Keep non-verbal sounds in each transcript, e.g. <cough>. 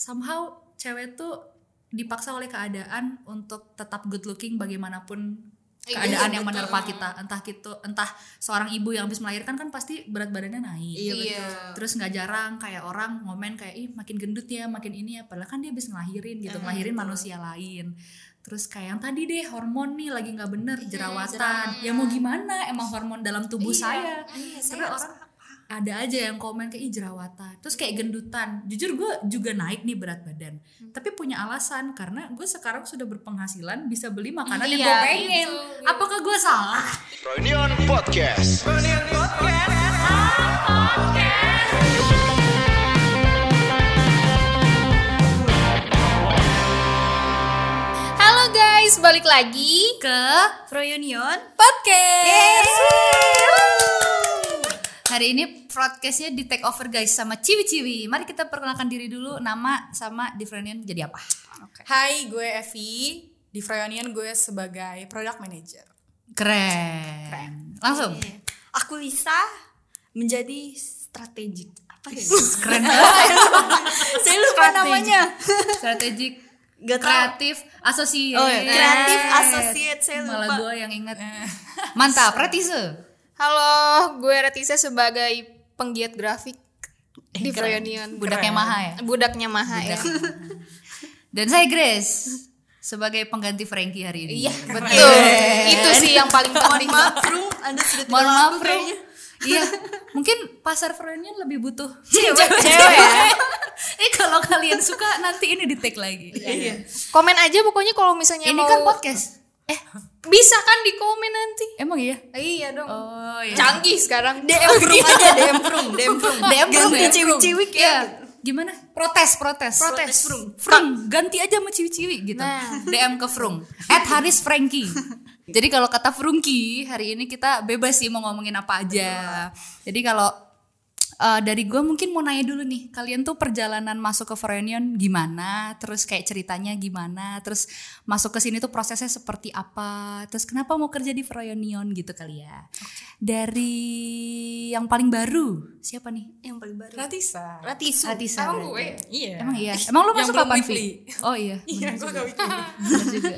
somehow cewek tuh dipaksa oleh keadaan untuk tetap good looking bagaimanapun Iya, keadaan yang betul. menerpa kita entah gitu entah seorang ibu yang habis melahirkan kan pasti berat badannya naik Iya, Iya. terus nggak jarang kayak orang ngomen kayak ih makin gendut ya makin ini ya padahal kan dia habis ngelahirin gitu Eh, ngelahirin betul. manusia lain terus kayak yang tadi deh hormon nih lagi nggak bener Iya, jerawatan jerawatan. ya mau gimana emang hormon dalam tubuh Iya. saya Iya, Tapi saya harus- orang ada aja yang komen kayak ih jerawatan terus kayak gendutan jujur gue juga naik nih berat badan Hmm. tapi punya alasan karena gue sekarang sudah berpenghasilan bisa beli makanan yang Iya, gue pengen gitu, gitu. apakah gue salah Reunion Podcast. Halo guys, balik lagi ke Prounion Podcast. hari ini podcastnya di take over guys sama ciwi-ciwi mari kita perkenalkan diri dulu nama sama differentian jadi apa Hai, gue Evi. Di Froyonian gue sebagai product manager. keren, langsung Aku Lisa menjadi strategik. Apa ya? keren banget Saya lupa namanya. strategik Gak tahu. kreatif asosiasi Oh, iya. Kreatif associate, saya lupa. malah gue yang inget mantap Ratise Halo, gue Retisa sebagai penggiat grafik di Prounion. budaknya maha ya Budaknya Maha ya. dan saya Grace sebagai pengganti Frankie hari ini <laughs> Iya, betul. Itu sih yang paling penting. Room, Anda sudah mohon terlalu maaf aku Rum. kayaknya. iya mungkin pasar Freudian lebih butuh <laughs> Cewek ya. <laughs> eh kalau kalian suka nanti ini di take lagi Iya, Komen aja pokoknya kalau misalnya ini mau kan podcast bisa kan di komen nanti. emang iya Iya dong. oh iya Canggih sekarang. Iya. DM room aja, DM room, DM room. <laughs> DM room ya? Ganti ciwik-ciwik ya. Iya. gimana protes protes Protes room. Frung, ganti aja sama ciwi-ciwi gitu. DM ke Frung. At Haris <laughs> Franky. Jadi kalau kata Frungki, hari ini kita bebas sih mau ngomongin apa aja. Jadi kalau eh, dari gue mungkin mau nanya dulu nih, kalian tuh perjalanan masuk ke Forenion gimana? Terus kayak ceritanya gimana? Terus masuk ke sini tuh prosesnya seperti apa? Terus kenapa mau kerja di Forenion gitu kali ya? Dari yang paling baru siapa nih? Yang paling baru. Ratisa. Ratisu. Adisa. Emang gue. Iya. Emang iya. Emang lu Yang masuk belum kapan, weekly. Vi? Oh <laughs> iya. Iya, gue gak weekly. Bener juga.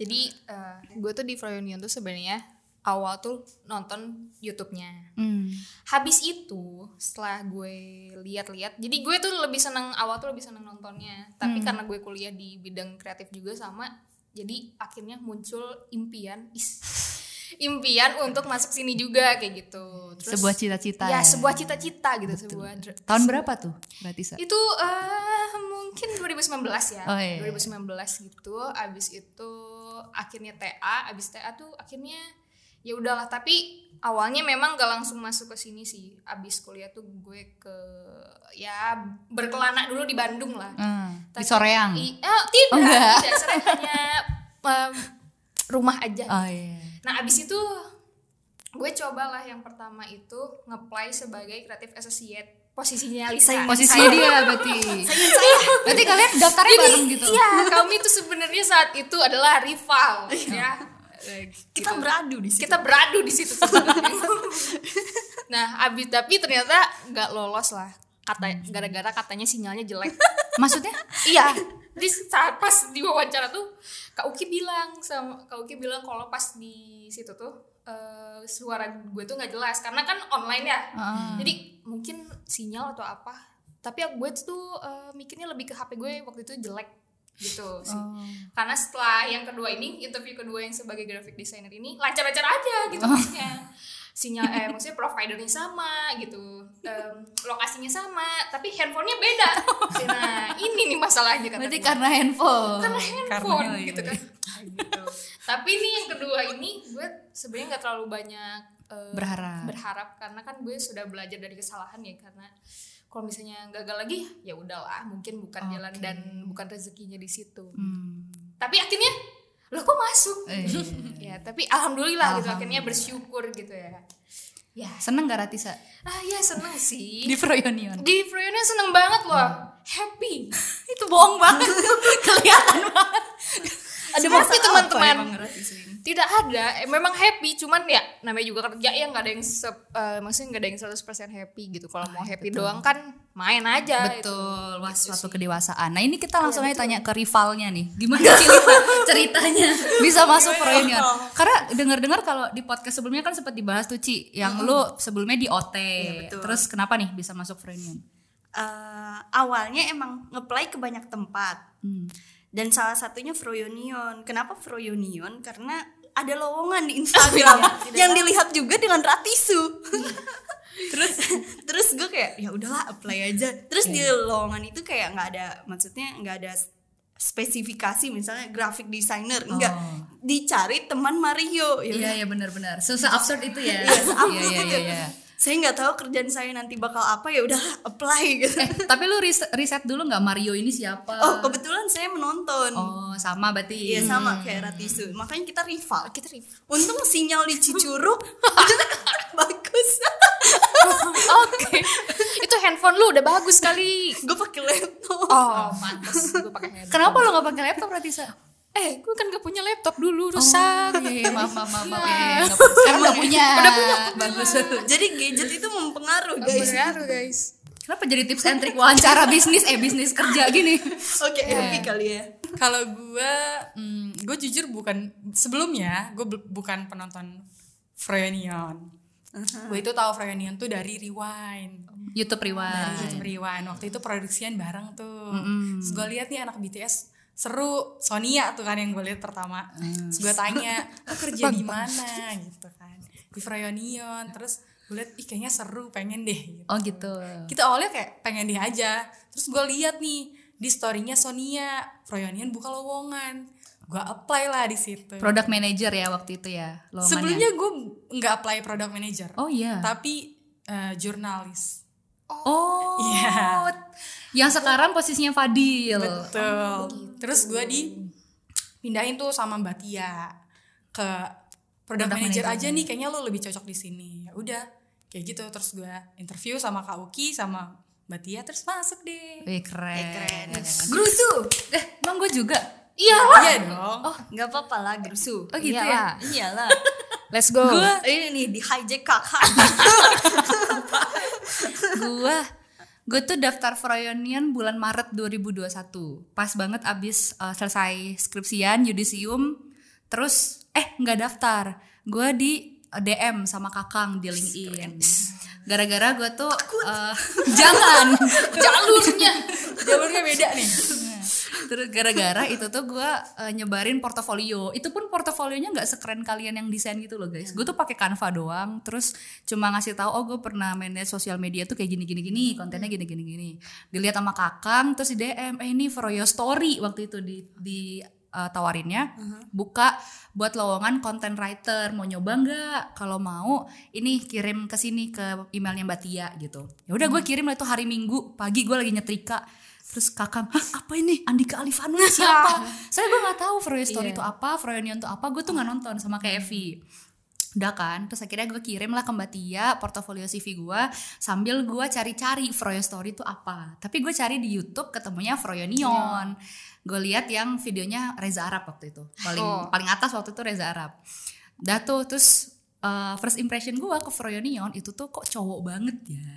Jadi eh, gue tuh di Prounion tuh sebenarnya awal tuh nonton YouTube-nya. Hmm. Habis itu setelah gue lihat-lihat, jadi gue tuh lebih seneng awal tuh lebih seneng nontonnya. Tapi Hmm. karena gue kuliah di bidang kreatif juga sama, jadi akhirnya muncul impian, is, <laughs> impian untuk masuk sini juga kayak gitu. Terus, Sebuah cita-cita. ya sebuah cita-cita gitu sebuah dr- Tahun berapa tuh, Ratisa? itu eh mungkin 2019 ya Oh, iya. 2019 gitu abis itu akhirnya TA abis TA tuh akhirnya ya udahlah tapi awalnya memang gak langsung masuk ke sini sih abis kuliah tuh gue ke ya berkelana dulu di Bandung lah Hmm, Di Tapi- Soreang. I- eh, tidak Oh, enggak. tidak Soreang hanya em, rumah aja Oh iya. Nah abis itu gue cobalah yang pertama itu ngeplay sebagai kreatif associate posisinya Lisa. Posisinya dia berarti. Berarti kalian daftarnya bareng gitu. Iya, kami itu sebenarnya saat itu adalah rival Iya. ya. Eh, gitu. Kita beradu di situ. Kita beradu di <laughs> situ sebenarnya. nah, abis tapi ternyata nggak lolos lah. Kata gara-gara katanya sinyalnya jelek. Maksudnya? iya. Jadi saat pas di wawancara tuh Kak Uki bilang sama Kak Uki bilang kalau pas di situ tuh eh, suara gue tuh nggak jelas karena kan online ya. Heeh. Jadi mungkin sinyal atau apa. Tapi ya gue tuh eh, mikirnya lebih ke HP gue waktu itu jelek gitu sih. Oh. Karena setelah yang kedua ini interview kedua yang sebagai graphic designer ini lancar-lancar aja Oh. gitu maksudnya. Sinyal eh maksudnya providernya sama gitu. Em, lokasinya sama, tapi handphonenya <laughs> beda. Nah, ini nih masalahnya kata Berarti gue. karena handphone. Oh, karena handphone Karena- gitu kan. Gitu. tapi nih yang kedua ini gue sebenarnya nggak terlalu banyak eh, Berharap. berharap karena kan gue sudah belajar dari kesalahan ya karena kalau misalnya gagal lagi ya udahlah mungkin bukan jalan dan bukan rezekinya di situ Hmm. tapi akhirnya lo kok masuk Eh. ya tapi alhamdulillah, gitu akhirnya bersyukur gitu ya ya Seneng gak Ratisa? ah ya seneng sih Di <laughs> Froyonion. di Froyonya seneng banget loh happy Itu bohong banget. Kelihatan banget. ada tapi teman-teman Emang Ratisa ini. tidak ada eh, memang happy cuman ya namanya juga kerja ya nggak ada yang se, eh, maksudnya nggak ada yang 100% happy gitu kalau mau happy doang kan main aja gitu. itu. <laughs> Betul, wah suatu kedewasaan. Nah ini kita langsung aja tanya ke rivalnya nih, gimana sih Liva ceritanya bisa masuk Froyonion? Karena dengar-dengar kalau di podcast sebelumnya kan sempat dibahas tuh Ci, yang lu sebelumnya di OT, terus kenapa nih bisa masuk Froyonion? Eh, awalnya emang ngeplay ke banyak tempat Hmm. dan salah satunya Froyonion. Kenapa Froyonion? Karena ada lowongan di <laughs> Instagram Iya. yang dilihat juga dengan Ratisu. <laughs> terus terus gue kayak ya udahlah apply aja. Terus di lowongan itu kayak nggak ada maksudnya nggak ada spesifikasi misalnya graphic designer enggak Oh. dicari teman Mario ya udah. Iya iya benar-benar, <laughs> susah absurd itu ya. Iya, seabsurd Iya iya itu. iya. iya. saya nggak tahu kerjaan saya nanti bakal apa ya udahlah <laughs> apply gitu Eh tapi lu ris- riset dulu nggak Mario ini siapa? oh kebetulan saya menonton Oh, sama berarti. Iya sama kayak Ratisu makanya kita Oh, rival kita review untung sinyal di <laughs> Cicurug <laughs> bagus <laughs> oke itu handphone lu udah bagus kali gue pakai laptop oh mantas gue pakai handphone Kenapa lu nggak pakai laptop Ratisa? eh gue kan gak punya laptop dulu Oh, rusak iya, iya, maaf maaf maaf. maaf. Iya, iya, nggak apa-apa. Sekarang <laughs> udah punya. Udah punya. Bagus. jadi gadget itu mempengaruh Oh, Oh, guys Berpengaruh, guys Kenapa jadi tips and trick wawancara bisnis eh bisnis kerja gini? oke Iya. happy kali ya Kalau gue, gue jujur bukan sebelumnya gue bel- bukan penonton Froyonion. Gue itu tahu Froyonion tuh dari Rewind. YouTube Nah, Rewind. YouTube Rewind. Waktu itu produksian bareng tuh. Terus gue lihat nih anak BTS seru Sonia tuh kan yang gue lihat pertama. Terus gue tanya, "Lo kerja di mana?" gitu kan. Di Froyonion. Terus gue lihat ih kayaknya seru, pengen deh gitu. Oh gitu. Kita awalnya kayak pengen deh aja. Terus gue lihat nih di storynya Sonia, Froyonion buka lowongan. Gue apply lah di situ. Product manager ya waktu itu ya. lowongannya. Sebelumnya gue nggak apply product manager, Oh iya. tapi eh, jurnalis. Oh. Iya. Yang sekarang posisinya Fadil. Oh, Betul. gitu. Terus gue dipindahin tuh sama Mbak Tia ke product, Product manager. manager, aja nih kayaknya lu lebih cocok di sini. Ya udah, kayak gitu terus gue interview sama Kak Uki sama Mbak Tia terus masuk deh. Wih keren. grusu Eh, emang gue juga. iya Iya dong. Oh, nggak apa-apa lah grusu Oh gitu Iyalah. ya. Oh. iyalah let's go gue ini di hijack kakak Gua gue tuh daftar Froyonian bulan Maret 2021. Pas banget abis uh, selesai skripsian yudisium terus eh nggak daftar. Gue di uh, DM sama Kakang di LinkedIn. Gara-gara gue tuh <laughs> uh, jangan jalurnya Jalurnya beda <laughs> nih. terus gara-gara itu tuh gue eh, nyebarin portofolio itu pun portofolionya nggak sekeren kalian yang desain gitu loh guys gue tuh pakai Canva doang terus cuma ngasih tahu oh gue pernah manage sosial media tuh kayak gini gini gini kontennya gini gini gini dilihat sama kakang terus di DM eh ini Froyo Story waktu itu di di eh, tawarinnya buka buat lowongan content writer mau nyoba nggak kalau mau ini kirim ke sini ke emailnya Mbak Tia gitu ya udah gue kirim lah itu hari Minggu pagi gue lagi nyetrika terus kakak "Hah, apa ini Andika Alifanu siapa saya gue nggak tahu Froyo Story itu apa Froyonion itu apa gue tuh nggak nonton sama kayak Evi udah kan terus akhirnya gue kirim lah ke Mbak Tia portofolio CV gue sambil gue cari-cari Froyo Story itu apa tapi gue cari di YouTube ketemunya Froyonion gue lihat yang videonya Reza Arab waktu itu paling Oh. paling atas waktu itu Reza Arab dah tuh terus uh, first impression gue ke Froyonion itu tuh kok cowok banget ya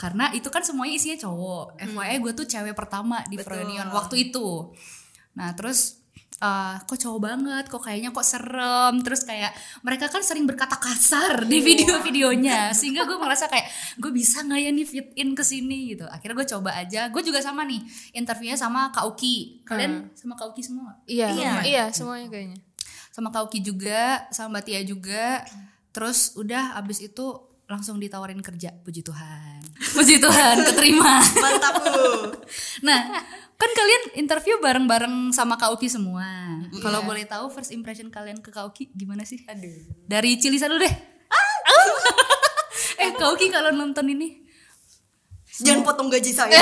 karena itu kan semuanya isinya cowok FYI gue tuh cewek pertama di Froyonion waktu itu nah terus uh, kok cowok banget kok kayaknya kok serem terus kayak mereka kan sering berkata kasar di video-videonya sehingga gue merasa kayak gue bisa nggak ya nih fit in ke sini gitu akhirnya gue coba aja gue juga sama nih interviewnya sama Kak Uki kalian sama Kak Uki semua nggak? iya Iya. iya semuanya kayaknya sama Kauki juga, sama Mbak Tia juga. Terus udah abis itu langsung ditawarin kerja, puji <laughs> Tuhan. Puji Tuhan, keterima. mantap Bu. <laughs> Nah, kan kalian interview bareng-bareng sama Kauki semua. Iya. Kalau boleh tahu first impression kalian ke Kauki gimana sih? Aduh. Dari Cilisa dulu deh. Ah! <laughs> eh, Kauki kalau nonton ini jangan potong gaji <laughs> saya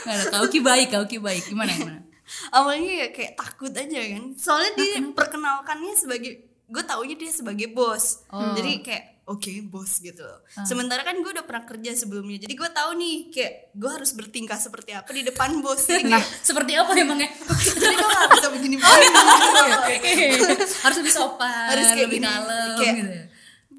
Nggak ada, Kauki baik, Kauki baik. Gimana gimana? awalnya ya kayak takut aja Oh. kan soalnya dia perkenalkannya sebagai gue taunya dia sebagai bos jadi kayak oke bos gitu Ah. sementara kan gue udah pernah kerja sebelumnya jadi gue tahu nih kayak gue harus bertingkah seperti apa di depan bos jadi Nah, kayak, seperti apa emangnya? jadi gue gak bisa begini begini gitu. <laughs> harus lebih sopan, Harus kayak lebih gini, kalem kayak- gitu. ya.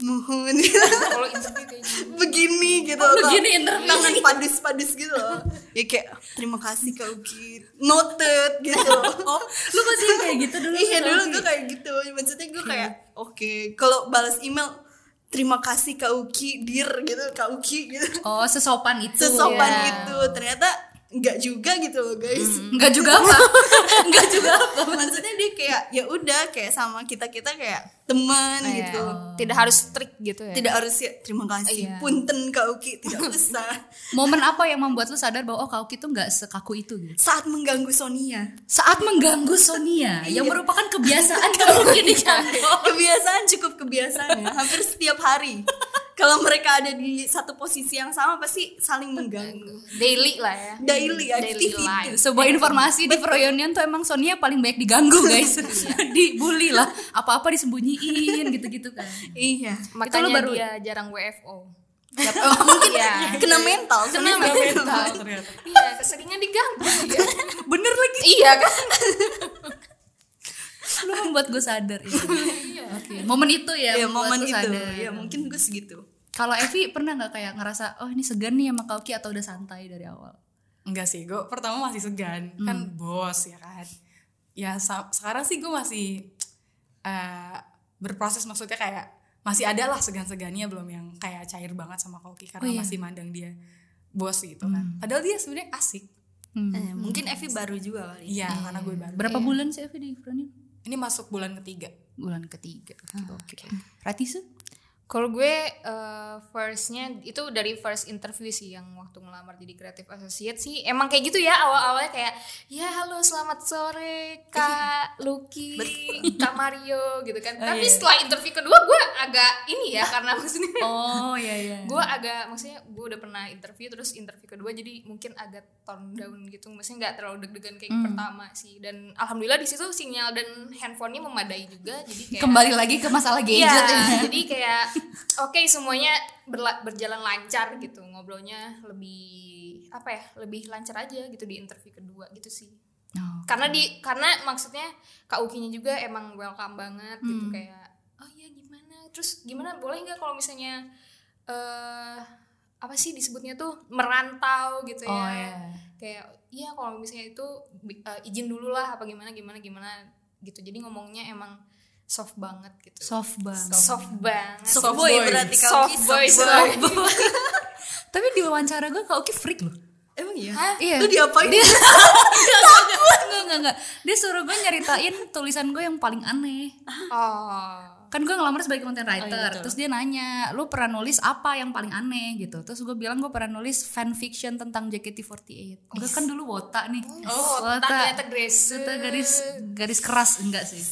mohon Nah, <laughs> Kalau interview kayak gini. Oh, begini gitu Udah loh. gini interview. tangan padus-padus gitu loh ya kayak terima kasih kak Uki noted gitu Oh, lu pasti kayak gitu dulu. iya Kak dulu Uki? gue kayak gitu maksudnya gue kayak oke kalau balas email terima kasih kak Uki dir gitu kak Uki gitu Oh, sesopan itu. sesopan ya. itu ternyata nggak juga gitu loh guys <laughs> Enggak Iya. juga apa? Enggak juga apa? maksudnya dia kayak ya udah kayak sama kita kita kayak teman Iya. gitu Tidak harus strict gitu ya. tidak harus ya terima Iya. kasih punten kak Uki tidak usah Momen apa yang membuat lu sadar bahwa oh Kauki tuh nggak sekaku itu gitu? saat mengganggu Sonia Saat mengganggu Sonia Iya. yang merupakan <laughs> kebiasaan Kauki di kantor. kebiasaan cukup kebiasaan ya hampir setiap hari kalau mereka ada di satu posisi yang sama pasti saling mengganggu Daily lah ya. daily activity life. Sebuah informasi di Froyonian tuh emang Sonia paling banyak diganggu guys, <laughs> dibully lah, apa-apa disembunyiin gitu-gitu kan. iya Makanya lu baru- dia jarang WFO. <laughs> oh, mungkin Iya. <laughs> kena mental Kena mental. ternyata Iya, keseringan diganggu <laughs> dia. Bener lagi iya kan? lu membuat gue sadar itu. Oke, momen itu ya, ya membuat Iya. momen lu itu sadar. ya mungkin gue segitu Kalau Evi pernah nggak kayak ngerasa oh ini segan nih sama Kauki atau udah santai dari awal? Enggak sih, gue pertama masih segan kan Hmm. bos ya kan. Ya sa- sekarang sih gue masih eh, berproses maksudnya kayak masih ada lah segan-segannya belum yang kayak cair banget sama Koki karena Oh, iya. masih mandang dia bos gitu kan. Padahal dia sebenarnya asik. Hmm. Eh, mungkin Evi baru juga kali Iya, karena gue baru. Berapa bulan sih Evi di Froyonian? Ini masuk bulan ketiga. Bulan ketiga. gitu. Oh, Oke. oke. Ratisu? Kalau gue eh, firstnya itu dari first interview sih yang waktu ngelamar jadi creative associate sih emang kayak gitu ya awal-awalnya kayak ya halo selamat sore <laughs> kak Lucky, kak Mario gitu kan. Tapi setelah interview kedua gue agak ini <laughs> ya karena maksudnya Oh iya iya. gue agak maksudnya gue udah pernah interview terus interview kedua jadi mungkin agak tone down gitu maksudnya nggak terlalu deg-degan kayak Hmm. pertama sih dan alhamdulillah di situ sinyal dan handphonenya memadai juga jadi kayak Kembali lagi ke masalah gadget. Iya, ya. jadi kayak oke semuanya berla- berjalan lancar gitu ngobrolnya lebih apa ya lebih lancar aja gitu di interview kedua gitu sih Oh. karena di karena maksudnya kak Ukinya juga emang welcome banget Hmm. gitu kayak oh iya gimana terus gimana boleh nggak kalau misalnya eh apa sih disebutnya tuh merantau gitu ya Oh, iya. kayak iya kalau misalnya itu bi- eh, izin dulu lah apa gimana gimana gimana gitu jadi ngomongnya emang soft banget gitu Soft banget. soft banget soft, boy, berarti kau soft Ki, boy boy. soft boy Tapi di wawancara gue Kauki freak loh. emang iya Iya. lu diapain Enggak enggak enggak. Dia suruh gue nyeritain tulisan gue yang paling aneh. <laughs> oh kan gue ngelamar sebagai content writer terus dia nanya lu pernah nulis apa yang paling aneh gitu terus gue bilang gue pernah nulis fanfiction tentang JKT48 gue kan dulu wota ya. nih Oh, wota ternyata garis. Ternyata garis garis keras enggak sih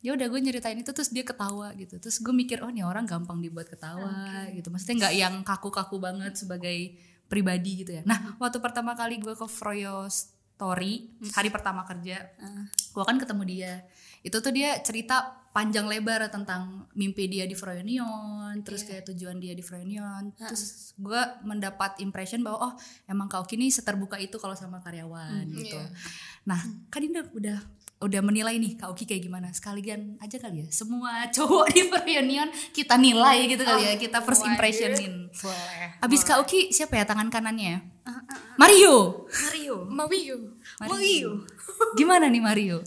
ya udah gue nyeritain itu terus dia ketawa gitu terus gue mikir oh ini orang gampang dibuat ketawa gitu maksudnya nggak yang kaku-kaku banget sebagai pribadi gitu ya nah waktu pertama kali gue ke Froyo Story hari pertama kerja gue kan ketemu dia itu tuh dia cerita panjang lebar tentang mimpi dia di Froyonion terus kayak tujuan dia di Froyonion terus gue mendapat impression bahwa oh emang kau kini seterbuka itu kalau sama karyawan gitu Iya. nah kan ini udah- udah udah menilai nih Kak Uki kayak gimana sekalian aja kali ya semua <laughs> cowok di Froyonion kita nilai gitu kali ya kita first waduh. impressionin Boleh. abis Kak Uki siapa ya tangan kanannya Mario Mario Mario Mario gimana nih Mario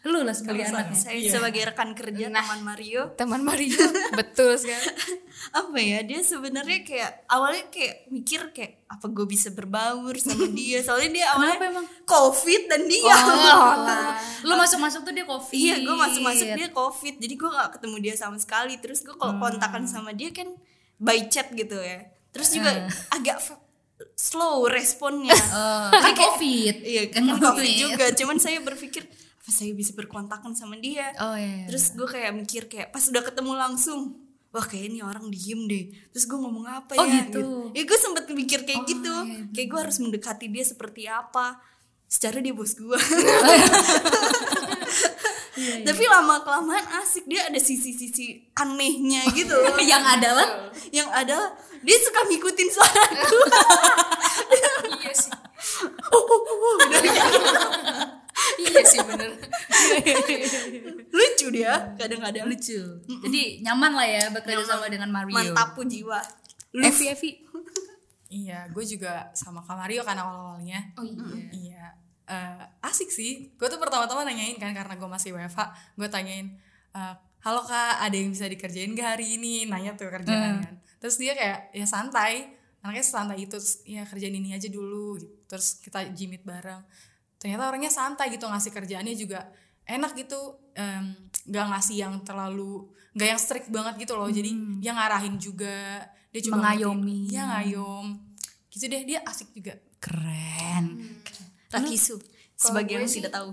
lu lah sebagai anaknya saya sebagai rekan kerja teman Mario teman Mario betul sekali apa ya dia sebenarnya kayak awalnya kayak mikir kayak apa gue bisa berbaur <laughs> sama dia soalnya dia awalnya Kenapa emang? covid dan dia lu masuk masuk tuh dia covid <laughs> iya gue masuk masuk dia covid jadi gue gak ketemu dia sama sekali terus gue kalau kontakan sama dia kan by chat gitu ya terus juga agak f- slow responnya <laughs> Eh, kan covid iya kan gitu ya. covid juga cuman saya berpikir apa saya bisa berkontakan sama dia oh iya Terus gue kayak mikir kayak pas udah ketemu langsung, wah kayaknya ini orang diem deh. Terus gue ngomong apa Oh, ya? gitu. Ya gue sempet mikir Oh, kayak gitu, iya, iya. kayak gue harus <laughs> mendekati dia seperti apa. Secara dia bos gue. Iya, <laughs> tapi lama kelamaan asik dia ada sisi-sisi anehnya Oh, gitu loh. yang adalah yang ada dia suka ngikutin suara <laughs> aku iya sih Oh, iya sih bener <laughs> lucu dia kadang-kadang lucu lucu jadi nyaman lah ya bekerja sama dengan Mario mantapu jiwa Evi Evi Iya, gue juga sama Kak Mario kan awal-awalnya. oh iya Iya, eh, asik sih. Gue tuh pertama-tama nanyain kan karena gue masih WFH, gue tanyain, eh, halo kak, ada yang bisa dikerjain gak hari ini? Nanya tuh kerjaan kan. Terus dia kayak ya santai, anaknya santai itu, Terus, ya kerjain ini aja dulu. gitu. Terus kita jimit bareng. Ternyata orangnya santai gitu ngasih kerjaannya juga enak gitu, em, nggak ngasih yang terlalu, nggak yang strict banget gitu loh. Jadi dia ngarahin juga, dia juga ngerti- Mengayomi. Iya ngayom. Gitu deh dia asik juga. keren Mm. Rakisu gue sebagai yang sih- tidak tahu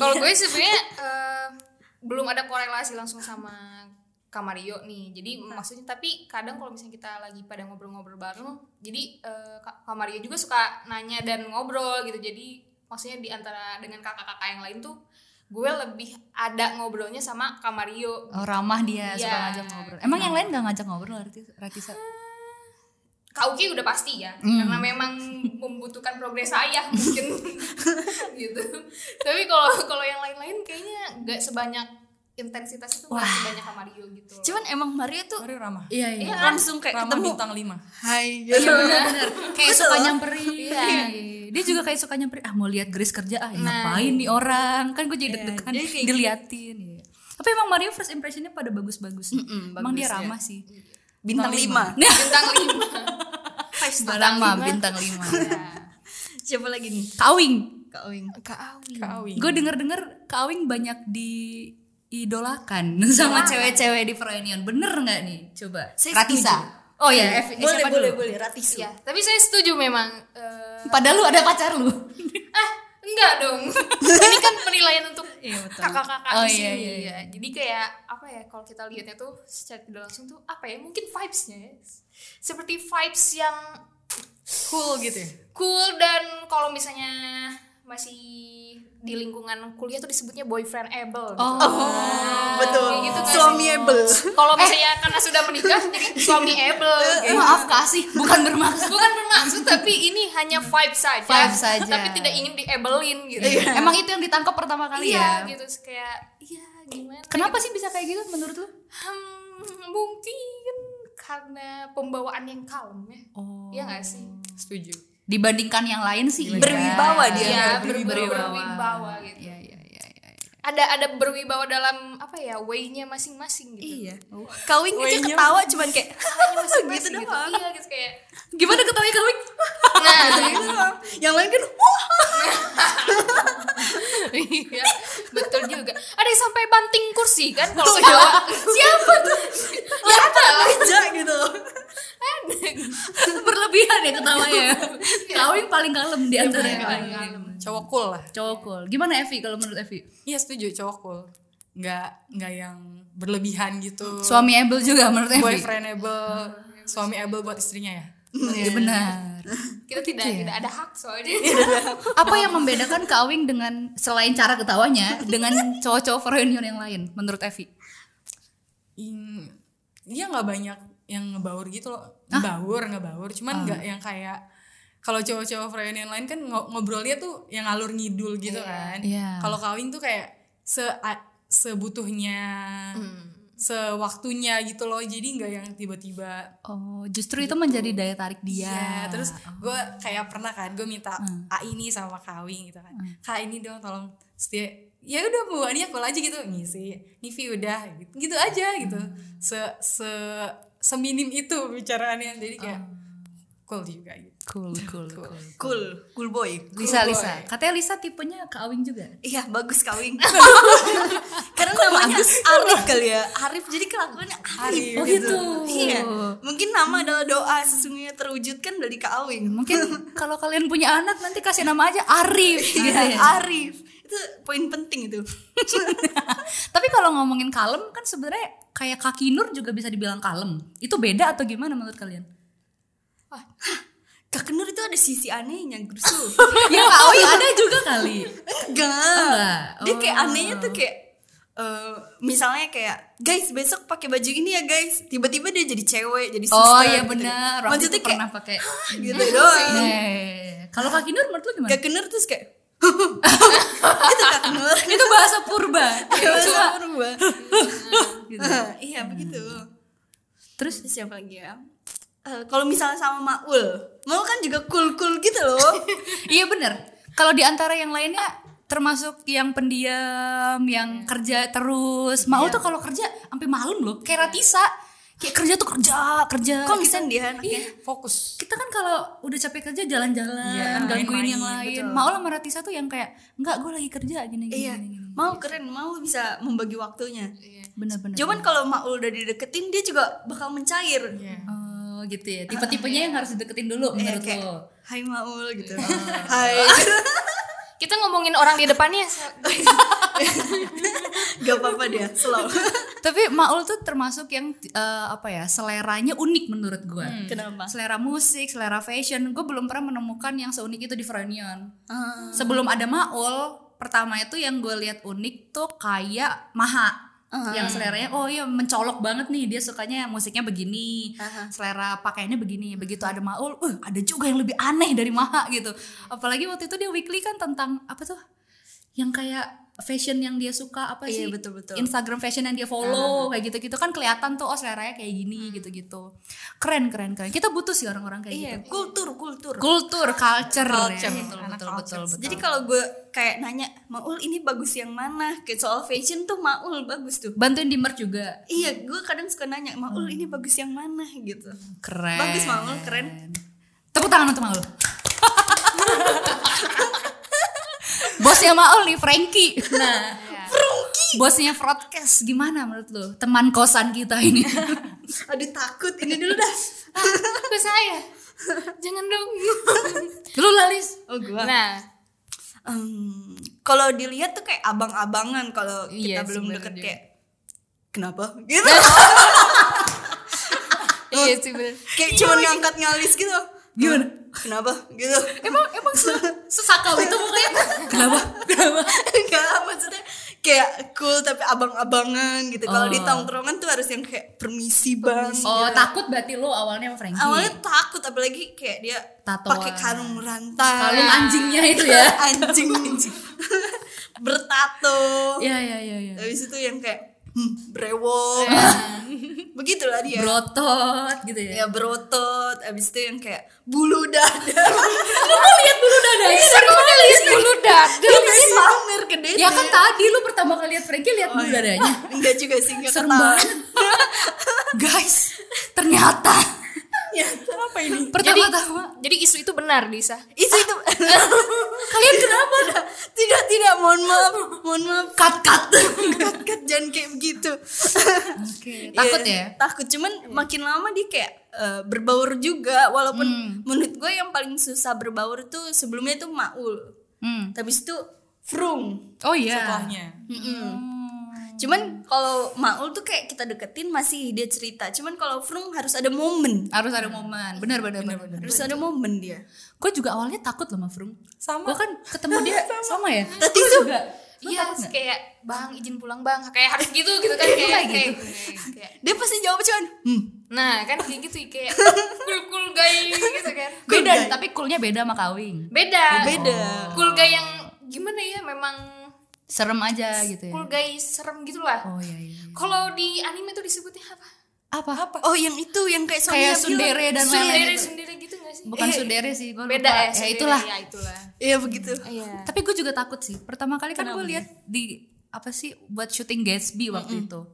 kalau gue sebenarnya eh, belum ada korelasi langsung sama Kamario nih jadi maksudnya tapi kadang kalau misalnya kita lagi pada ngobrol-ngobrol bareng jadi eh, Ka- Kamario juga suka nanya dan ngobrol gitu jadi maksudnya di antara dengan kakak-kakak yang lain tuh gue lebih ada ngobrolnya sama Kamario oh, ramah dia suka Iya. ngajak ngobrol emang yang lain gak ngajak ngobrol Rati- Ratisa Kak Uki udah pasti ya karena memang membutuhkan progres saya mungkin <laughs> gitu tapi kalau kalau yang lain-lain kayaknya nggak sebanyak intensitas itu nggak sebanyak sama Mario gitu loh. cuman emang Mario tuh Baru ramah. iya Iya. langsung kayak <laughs> Ramah ketemu bintang 5. hai Iya benar-benar kayak Betul. Iya. suka nyamperin. Iya, Dia juga kayak suka nyamperin. Ah mau lihat Grace kerja ah ya ngapain nih orang? Kan gue jadi deg-degan dia Nah. Iya, kayak diliatin. Iya. Tapi emang Mario first impressionnya pada bagus-bagus. nih. Mm-mm, emang dia bagus, ya. ramah sih. bintang lima. 5 bintang lima five star Ramah <laughs> bintang 5 siapa lagi nih Kawing. Kak Owing Kak Awi Kak Awi. Gue denger-denger Kawing banyak diidolakan <laughs> sama cewek-cewek di Froyonion. Bener nggak nih? Coba. Saya Ratisa. Oh ya, F- boleh siapa boleh dulu? boleh Ratisu ya tapi saya setuju memang eh, Padahal lu ada pacar lu. ah enggak <laughs> dong ini kan penilaian untuk Iya betul. kakak-kakak Oh, di iya, sini iya, ya. jadi kayak apa ya kalau kita lihatnya tuh secara tidak langsung tuh apa ya mungkin vibesnya ya seperti vibes yang Cool gitu ya. cool dan kalau misalnya masih di lingkungan kuliah tuh disebutnya boyfriend able gitu. Oh. betul Kayak gitu kan. suami able Kalau misalnya karena sudah menikah jadi suami <laughs> able gitu. Maaf kasih, bukan bermaksud. <laughs> Bukan bermaksud tapi ini hanya vibe saja. Vibe saja. Tapi tidak ingin Iya. diablein gitu. Emang itu yang ditangkap pertama kali Iya ya? gitu kayak iya gimana? Kenapa sih bisa kayak gitu menurut lu? Hmm, mungkin karena pembawaan yang kalem ya. Oh. Iya nggak sih? Setuju. Dibandingkan yang lain sih iya. Berwibawa dia. Iya, berwibawa. berwibawa. berwibawa gitu. Iya, iya, iya, iya. iya. Ada ada berwibawa dalam apa ya? Way-nya masing-masing gitu. iya Kak Owing aja Waynya. ketawa cuman kayak gitu gitu doang Iya gitu kayak. Gimana ketawanya <laughs> kawin? Nah, Gitu <laughs> doang. yang lain kan wah iya, betul juga. Ada yang sampai banting kursi kan kalau ke Jawa. Siapa tuh? Ya ada lah. aja gitu Kan? Berlebihan ya ketawanya. kawin paling kalem di antara yang Paling lain. kalem. Cowok cool lah. Cowok cool. Gimana Evi kalau menurut Evi? Iya setuju cowok cool. Nggak nggak yang berlebihan gitu. Suami able juga menurut Evi. Boyfriendable. Suami able buat istrinya ya. Iya benar. Kita tidak tidak ada hak soalnya. Apa yang membedakan kawin dengan selain cara ketawanya dengan cowok-cowok reunion yang lain menurut Evi? In, dia nggak banyak yang ngebaur gitu loh. Ngebaur ngebaur. Cuman Ah. nggak yang kayak kalau cowok-cowok reunion lain kan ngo- ngobrolnya tuh yang ngalur ngidul gitu kan. Iya. Kalau kawin tuh kayak se a- sebutuhnya. Hmm. Sewaktunya gitu loh. Jadi nggak yang tiba-tiba Oh, justru itu menjadi daya tarik dia. Iya, terus gue kayak pernah kan gue minta A ini sama Kawing gitu kan. Kak ini dong tolong Terus dia ya udah bu, ini aku aja gitu ngisi. Nivi udah gitu, gitu aja gitu. Se se seminim itu bicaraannya. Jadi kayak cool juga gitu. cool, cool, cool. cool cool boy Lisa, Lisa. Katanya Lisa tipenya Kak Awing juga. Iya bagus <laughs> kawin Karena namanya Arif kali ya Arif jadi kelakuannya Arif Arif, Oh, gitu. Iya Mungkin nama adalah doa sesungguhnya terwujudkan dari kawin <laughs> Mungkin kalau kalian punya anak nanti kasih nama aja <laughs> Arif Iya, gitu ya. Arif Itu poin penting itu Tapi kalau ngomongin kalem kan sebenarnya kayak Kaki Nur juga bisa dibilang kalem. Itu beda atau gimana menurut <laughs> kalian? Kak Nur itu ada sisi anehnya <laughs> Grusu ya Kak Awing ada juga kali. Enggak Oh, enggak. Eh, Dia kayak Oh. anehnya tuh kayak eh, misalnya kayak guys besok pakai baju ini ya guys tiba-tiba dia jadi cewek jadi sister Oh iya gitu. benar. Waktu maksudnya itu kayak pernah Iya, pakai. gitu doang Eh, Kalau Kak Kinur menurut lu gimana? gak kenur terus <laughs> kayak itu gak kenur Itu bahasa purba. Bahasa Coba. purba. Iya, <laughs> Gitu. <laughs> Hmm. iya begitu Terus terus siapa lagi ya Eh, kalau misalnya sama Maul Maul kan juga cool cool gitu <laughs> loh iya bener. Kalau di antara yang lainnya termasuk yang pendiam, yang kerja terus. Mau Iya. tuh kalau kerja sampai malam loh, kayak Ratisa. Kayak kerja tuh kerja, kerja. Kita- konsen dia anaknya Iya. Fokus. Kita kan kalau udah capek kerja jalan-jalan, Iya, gangguin yang main-main, lain. Mau sama Ratisa tuh yang kayak enggak gue lagi kerja gini gini. Iya, gini, gini. mau keren, mau bisa membagi waktunya. Bener-bener. Cuman kalau Maul udah dideketin dia juga bakal mencair. Oh gitu ya. Tipe-tipenya yang harus dideketin dulu Iya, menurut kayak, lo. Hai Maul gitu. Hai. Kita ngomongin orang di depannya. Gak apa-apa dia, slow. Tapi Maul tuh termasuk yang eh, apa ya seleranya unik menurut gue. Kenapa? Selera musik, selera fashion, gue belum pernah menemukan yang seunik itu di Frenion. Sebelum ada Maul, pertama itu yang gue lihat unik tuh kayak Maha. Yang seleranya oh iya mencolok banget nih dia sukanya musiknya begini, selera pakaiannya begini. Begitu ada Maul, uh ada juga yang lebih aneh dari Maha gitu. Apalagi waktu itu dia weekly kan tentang apa tuh? yang kayak fashion yang dia suka apa sih Iya, betul-betul. Instagram fashion yang dia follow kayak gitu gitu kan kelihatan tuh oh seleranya kayak gini gitu gitu keren keren keren kita butuh sih orang-orang kayak Iya, gitu kultur, kultur. kultur culture, Culture, ya. betul betul anak betul, culture. betul. Jadi kalau gue kayak nanya, Maul ini bagus yang mana? Kayak soal fashion tuh Maul bagus tuh. bantuin di merch juga Iya, gue kadang suka nanya, Maul ini bagus yang mana gitu. keren Bagus, Maul, keren. tepuk tangan untuk Maul <laughs> bosnya Maul nih Frankie nah Frankie bosnya broadcast gimana menurut lu teman kosan kita ini Aduh takut, ini dulu dah. Ke saya. Jangan dong. <laughs> lu lalis Oh gue. nah, Em, kalau dilihat tuh kayak abang-abangan kalau Iya, kita belum sebenarnya deket juga. kayak kenapa gitu iya sih bener. kayak cuma ngangkat ngalis gitu Gimana? kenapa gitu emang emang se sesakau itu mukanya kenapa kenapa enggak maksudnya kayak cool tapi abang-abangan gitu kalau Oh. di tongkrongan tuh harus yang kayak permisi bang oh takut berarti lo awalnya sama Frankie awalnya takut apalagi kayak dia Oh, Tatoan. pakai kalung rantai kalung anjingnya itu ya <laughs> anjing bertato Iya iya iya ya. habis itu yang kayak hmm, brewok Eh. <laughs> begitulah Iya. dia brotot gitu ya ya berotot abis itu yang kayak bulu <laughs> dada bulu dada seru lihat bulu dada Dia kayak pamer ke dede Iya ya kan tadi lu pertama kali lihat Frankie lihat bulu dadanya enggak juga sih enggak serem ketawa. <laughs> banget guys ternyata Ya. Apa ini? pertama-tama Jadi isu itu benar, Disa. itu <laughs> itu kalian kenapa tidak tidak mohon maaf mohon maaf cut <laughs> cut cut cut jangan kayak begitu takut ya Iya, takut cuman makin lama dia kayak eh, berbaur juga walaupun Hmm. menurut gue yang paling susah berbaur tuh sebelumnya tuh maul Hmm. habis itu frung oh iya Setelahnya. Cuman kalau Maul tuh kayak kita deketin masih dia cerita. Cuman kalau Frung harus ada momen. harus ada momen benar benar benar benar Harus ada momen dia. gue juga awalnya takut loh sama Frung Sama. gue kan ketemu dia sama, ya Tadi Gua tuh- juga Iya, kayak bang izin pulang bang, kayak harus gitu gitu kan kayak kayak, kayak- kayak- Dia pasti jawab cuman, "Hmm, Nah kan kayak gitu kayak cool cool guy gitu kan. beda Beda. tapi coolnya beda sama kawing Beda. beda." Cool guy yang gimana ya memang serem aja gitu ya cool guy serem gitulah. oh iya iya Kalau di anime tuh disebutnya apa? apa apa Oh, yang itu yang kayak Sonia kayak bilang. sundere dan Sundere lain-lain gitu. sundere gitu gak sih? bukan sundere sih gue Beda ya, ya sundere, itulah Ya itulah. Iya begitu. Iya. tapi gue juga takut sih pertama kali kan gue lihat di apa sih buat syuting Gatsby waktu itu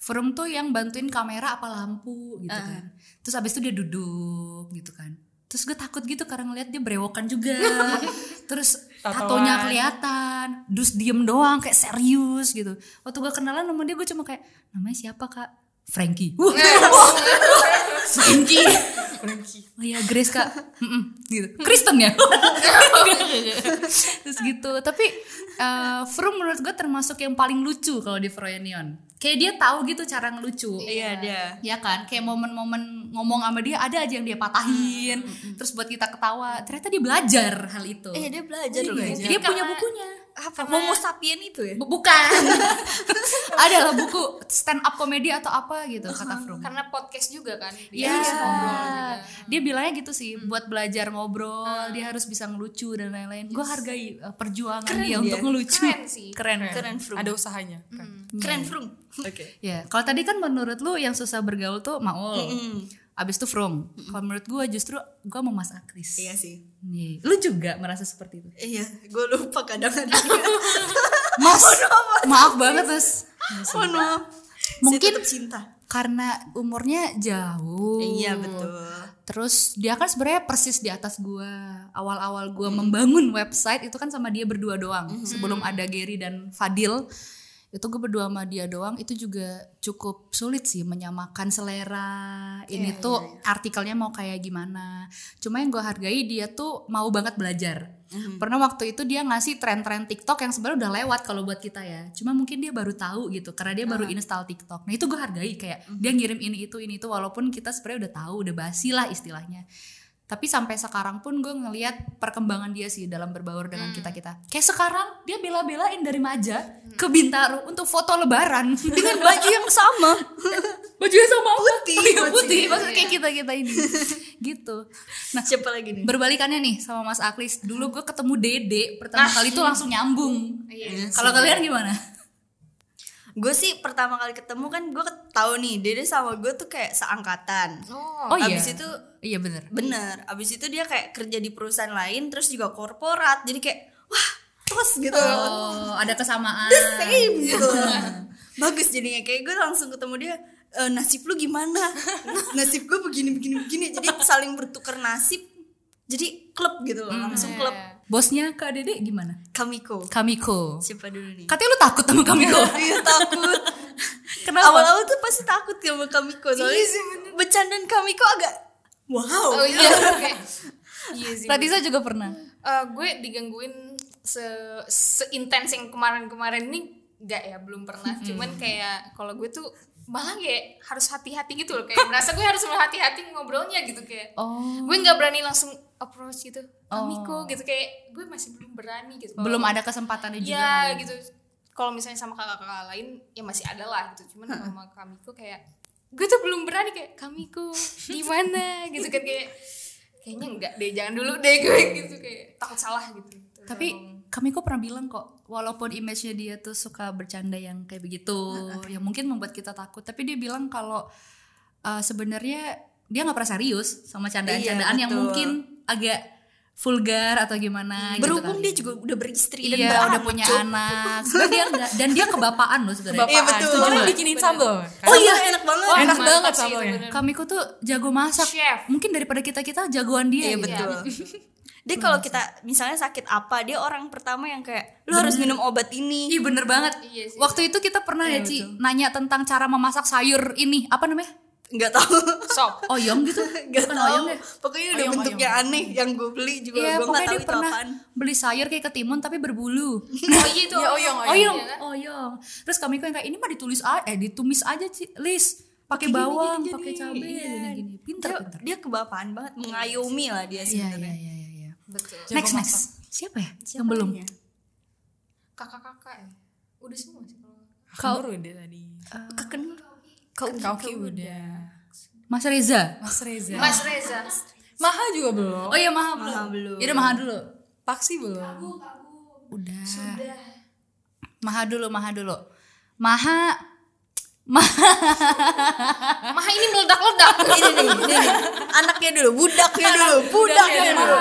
Firm tuh yang bantuin kamera apa lampu gitu kan terus abis itu dia duduk gitu kan terus gue takut gitu karena ngeliat dia berewokan juga terus Tatoan. tatonya kelihatan dus diem doang kayak serius gitu waktu gue kenalan sama dia gue cuma kayak namanya siapa kak Frankie Wah, wah, Frankie Oh iya Grace <laughs> kak Mm-mm, gitu. Kristen ya <laughs> Terus gitu Tapi eh Froome menurut gue termasuk yang paling lucu Kalau di Froyonion Kayak dia tahu gitu cara ngelucu Iya, dia. Ya kan Kayak momen-momen ngomong sama dia Ada aja yang dia patahin Terus buat kita ketawa Ternyata iya, dia belajar gitu. hal itu Mm, Eh, dia belajar loh. Dia punya bukunya Ah, apa? Momo sapien itu ya? Bu- bukan <laughs> adalah buku stand up komedi atau apa gitu kata Frum karena podcast juga kan dia Iya, harus ngobrol juga. dia bilangnya gitu sih buat belajar ngobrol dia harus bisa ngelucu dan lain-lain. Gue hargai eh, perjuangan dia, untuk ngelucu. Keren sih. Keren. Keren Frum. Ada usahanya. Keren. Keren Frum. Oke. Ya, kalau tadi kan menurut lu yang susah bergaul tuh Maul. Abis itu From. Kalau menurut gue justru gue mau Mas Akris. Iya sih. Nih, Lu juga merasa seperti itu. Iya, gue <laughs> lupa kadang-kadang. Iya Mas, maaf banget Mas. Mohon maaf. Mungkin- Oh. Saya tetap cinta. Karena umurnya jauh. Iya betul. Terus dia kan sebenarnya persis di atas gua. Awal-awal gua membangun website itu kan sama dia berdua doang. Sebelum ada Gary dan Fadil, itu gue berdua sama dia doang. Itu juga cukup sulit sih menyamakan selera. Ini tuh artikelnya mau kayak gimana. Cuma yang gue hargai dia tuh mau banget belajar. Pernah waktu itu dia ngasih tren-tren TikTok yang sebenarnya udah lewat kalau buat kita ya. Cuma mungkin dia baru tahu gitu karena dia baru install TikTok. Nah, itu gue hargai kayak dia ngirim ini itu ini itu walaupun kita sebenarnya udah tahu, udah basi lah istilahnya. Tapi sampai sekarang pun gue ngelihat perkembangan dia sih dalam berbaur dengan kita-kita. Kayak sekarang dia bela-belain dari Maja ke Bintaro untuk foto lebaran Hmm. <laughs> dengan baju yang sama. <laughs> Bajunya sama apa? Putih, Iya, putih. putih. Maksudnya kayak kita-kita <laughs> ini. gitu. Nah, Siapa lagi nih? berbalikannya nih sama Mas Aklis dulu gue ketemu Dede pertama kali tuh langsung nyambung Iya kalau kalian gimana Gue sih pertama kali ketemu kan gue tahu nih Dede sama gue tuh kayak seangkatan. Oh, oh iya Abis itu iya bener bener. Abis itu dia kayak kerja di perusahaan lain, terus juga korporat. Jadi kayak wah tos gitu. oh ada kesamaan The same <laughs> gitu. Bagus jadinya kayak gue langsung ketemu dia. "Eh, nasib lu <laughs> gimana? nasib gue begini begini begini. Jadi saling bertukar nasib. Jadi klub gitu loh, Hmm, langsung Iya. iya, klub bosnya kak Dede gimana Kamiko. Kamiko Siapa dulu nih? katanya lu takut sama <laughs> Kamiko Iya takut. Kenapa? Iya Awal-awal tuh pasti takut ya sama Kamiko soalnya bercandaan Kamiko agak wow. Oh iya, oke. Iya sih. Latisa juga pernah Eh, gue digangguin se seintens yang kemarin-kemarin ini enggak ya, belum pernah. Cuman kayak kalau gue tuh malah kayak harus hati-hati gitu loh kayak merasa gue harus berhati-hati ngobrolnya gitu kayak oh gue nggak berani langsung approach gitu Kamiko gitu kayak gue masih belum berani gitu Kalau- belum ada kesempatannya Nah, juga ya. kan. Iya gitu. Kalau misalnya sama kakak-kakak lain ya masih ada lah gitu. Cuman sama Kamiko kayak gue tuh belum berani kayak Kamiko gimana gitu kan kayak kayaknya enggak deh jangan dulu deh <laughs> gue gitu kayak takut salah gitu. tapi Kamiko pernah bilang kok walaupun image-nya dia tuh suka bercanda yang kayak begitu yang mungkin membuat kita takut tapi dia bilang kalau uh, sebenarnya dia nggak pernah serius sama candaan-candaan Iya, yang betul. mungkin agak vulgar atau gimana gitu Berhubung kali. dia juga udah beristri dan iya beranak, udah punya cuy. anak sebenarnya dia nggak- dan dia kebapaan loh sebenarnya Iya, betul. Setuju Orang nggak? bikinin Kan sambel. Oh kan? iya enak banget. Wah, Enak mantap banget sih itu <laughs> sambalnya. bener. Kamiko Iya. tuh jago masak Chef. mungkin daripada kita kita jagoan dia Iya gitu. betul. <laughs> Dia kalau kita misalnya sakit apa, dia orang pertama yang kayak lu harus minum obat ini. Ih bener banget. Iya sih. Waktu itu kita pernah ya Iya, Ci nanya tentang cara memasak sayur ini apa namanya? Enggak tahu. <laughs> Sop. Oyong gitu? Enggak Bukan tahu. oyong ya? Pokoknya udah Oyong, bentuknya aneh yang gue beli juga Iya gue pokoknya enggak tahu dia itu pernah apaan. beli sayur kayak ketimun tapi berbulu. Oh iya itu. Iya, oyong, orang. oyong, Iya kan? oyong. Terus kami kok yang kayak ini mah ditulis aja, eh ditumis aja Ci, Lis. Pakai bawang, pakai cabai, gini-gini. Pinter, Dia, pinter. dia kebapaan banget mengayomi lah dia Iya, iya, sebenarnya. iya, iya, iya. Betul. Jago Next, next. masak. Siapa ya? yang belum? ya? Kakak-kakak ya. Udah semua sih kalau Kau udah tadi. Kekenur. Kau Kauki udah. Mas Reza. Mas Reza. Mas Reza. Maha juga belum. Oh iya, Maha belum. Maha belum. Yaudah, Maha dulu. Paksi belum. Udah. Maha dulu, Maha dulu. Maha Maha Maha ini meledak-ledak. ini nih, ini nih. Anaknya dulu, <laughs> budaknya dulu, Iya, budaknya budaknya dulu.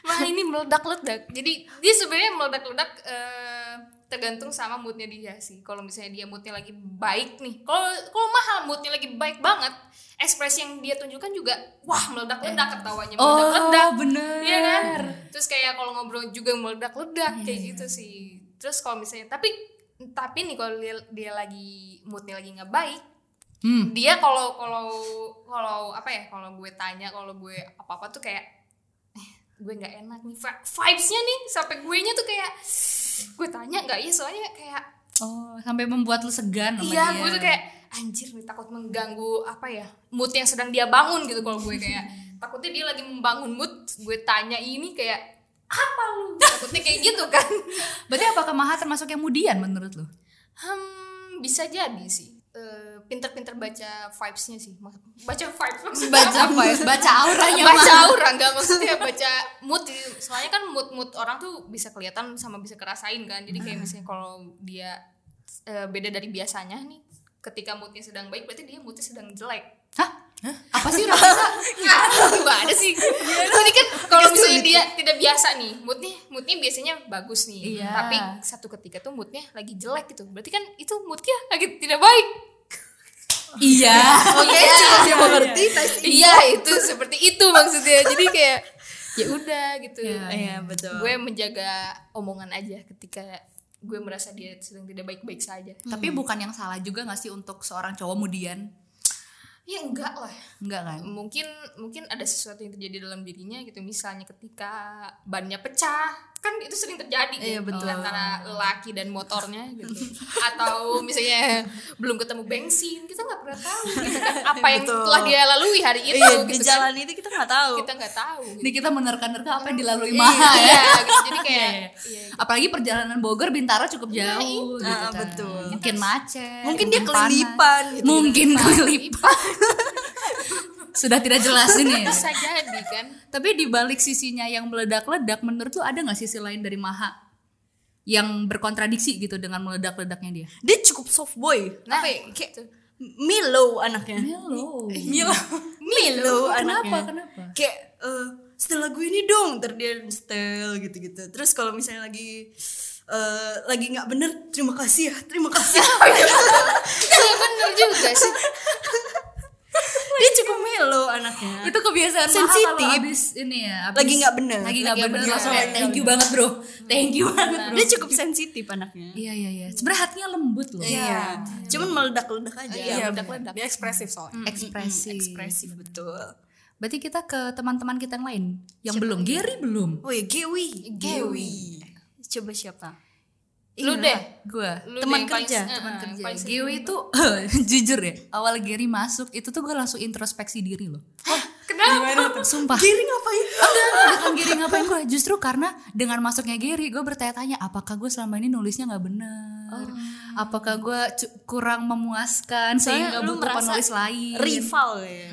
Mah gitu kan. ini meledak-ledak. Jadi dia sebenarnya meledak-ledak eh, tergantung sama moodnya dia sih. Kalau misalnya dia moodnya lagi baik nih, kalau kalau mahal moodnya lagi baik banget, ekspresi yang dia tunjukkan juga wah meledak-ledak ketawanya meledak-ledak. Oh, bener. Iya, Iya kan? Terus kayak kalau ngobrol juga meledak-ledak kayak gitu sih. Terus kalau misalnya tapi tapi nih kalau dia, dia lagi moodnya lagi nggak baik, Hmm. dia kalau kalau kalau apa ya kalau gue tanya kalau gue apa apa tuh kayak "Eh, gue nggak enak nih Vi- vibesnya nih sampai gue nya tuh kayak gue tanya nggak ya soalnya kayak Oh, sampai membuat lu segan sama iya dia. gue tuh kayak anjir nih takut mengganggu apa ya mood yang sedang dia bangun <laughs> gitu kalau gue kayak <laughs> takutnya dia lagi membangun mood gue tanya ini kayak apa lu takut maksudnya kayak gitu kan <laughs> Berarti apakah Maha termasuk yang mudian menurut lo? hmm, bisa jadi sih Eh, pinter-pinter baca vibes-nya sih Mak- baca vibes maksudnya <laughs> Baca apa? apa ya? Baca auranya baca Maha. aura nggak <laughs> maksudnya baca mood gitu. soalnya kan mood mood orang tuh bisa kelihatan sama bisa kerasain kan jadi kayak <laughs> misalnya kalau dia eh, beda dari biasanya nih ketika moodnya sedang baik berarti dia moodnya sedang jelek Hah? <laughs> Apa sih Raisa? <laughs> nggak ada sih ini kan kalau misalnya dia tidak biasa nih moodnya moodnya biasanya bagus nih Iya. tapi satu ketika tuh moodnya lagi jelek gitu berarti kan itu moodnya lagi tidak baik iya. <laughs> Oke, cukup dimengerti tes iya itu seperti itu maksudnya jadi kayak ya udah gitu Iya, iya, betul. gue menjaga omongan aja ketika gue merasa dia sedang tidak baik-baik saja Tapi bukan yang salah juga gak sih untuk seorang cowok mudian? ya enggak lah Enggak kan? mungkin mungkin ada sesuatu yang terjadi dalam dirinya gitu misalnya ketika bannya pecah kan itu sering terjadi Iya, gitu, betul. antara laki dan motornya gitu atau misalnya belum ketemu bensin kita nggak pernah tahu gitu kan apa yang Betul. telah dia lalui hari itu Iya, di gitu kan. jalan itu kita nggak tahu. kita nggak tahu gitu. Ini kita menerka-nerka apa yang dilalui Maha ya. Iya, gitu. jadi kayak iya, Apalagi perjalanan Bogor Bintaro cukup jauh gitu Ah, kan. betul. Mungkin macet. Mungkin dia panas. kelilipan gitu. <laughs> Mungkin kelilipan. Sudah tidak jelas ini. ya. bisa jadi kan Tapi di balik sisinya yang meledak-ledak menurut lu ada nggak sisi lain dari Maha yang berkontradiksi gitu dengan meledak-ledaknya dia? Dia cukup soft boy. nah kayak- gitu. Milo anaknya. Hello. Milo. Milo Kenapa? anaknya. Kenapa? Kayak eh setel lagu ini dong, ntar dia setel gitu-gitu. Terus kalau misalnya lagi eh lagi nggak bener, terima kasih ya, terima <laughs> kasih. iya bener juga sih dia cukup melo anaknya. Itu kebiasaan Maha Sensitif. kalau abis ini ya. abis- Lagi nggak bener. Lagi nggak Lagi nggak bener. bener. Langsung kayak, thank you banget bro. Thank you banget bro. Dia cukup sensitif anaknya. Iya iya iya. Sebenarnya hatinya lembut loh. Iya. Cuman meledak-ledak aja. Iya, Iya, bener. meledak-ledak. dia ekspresif soalnya. Ekspresi. Ekspresif betul. Berarti kita ke teman-teman kita yang lain yang belum. Gary belum. Woi, Oh ya, Gewi. Gewi. Coba siapa? lu Iya. deh Gue. Lu deh Teman yang paling- kerja, eh, teman eh, kerja. paling sering Gary itu <laughs> jujur ya. Awal Gary masuk itu tuh gue langsung introspeksi diri loh. Gimana tuh? Sumpah. Giri ngapain? bukan Giri ngapain gue justru karena dengan masuknya Giri gue bertanya-tanya apakah gue selama ini nulisnya nggak benar apakah gue cu- kurang memuaskan sehingga lu butuh merasa penulis lain <laughs> Rival ya.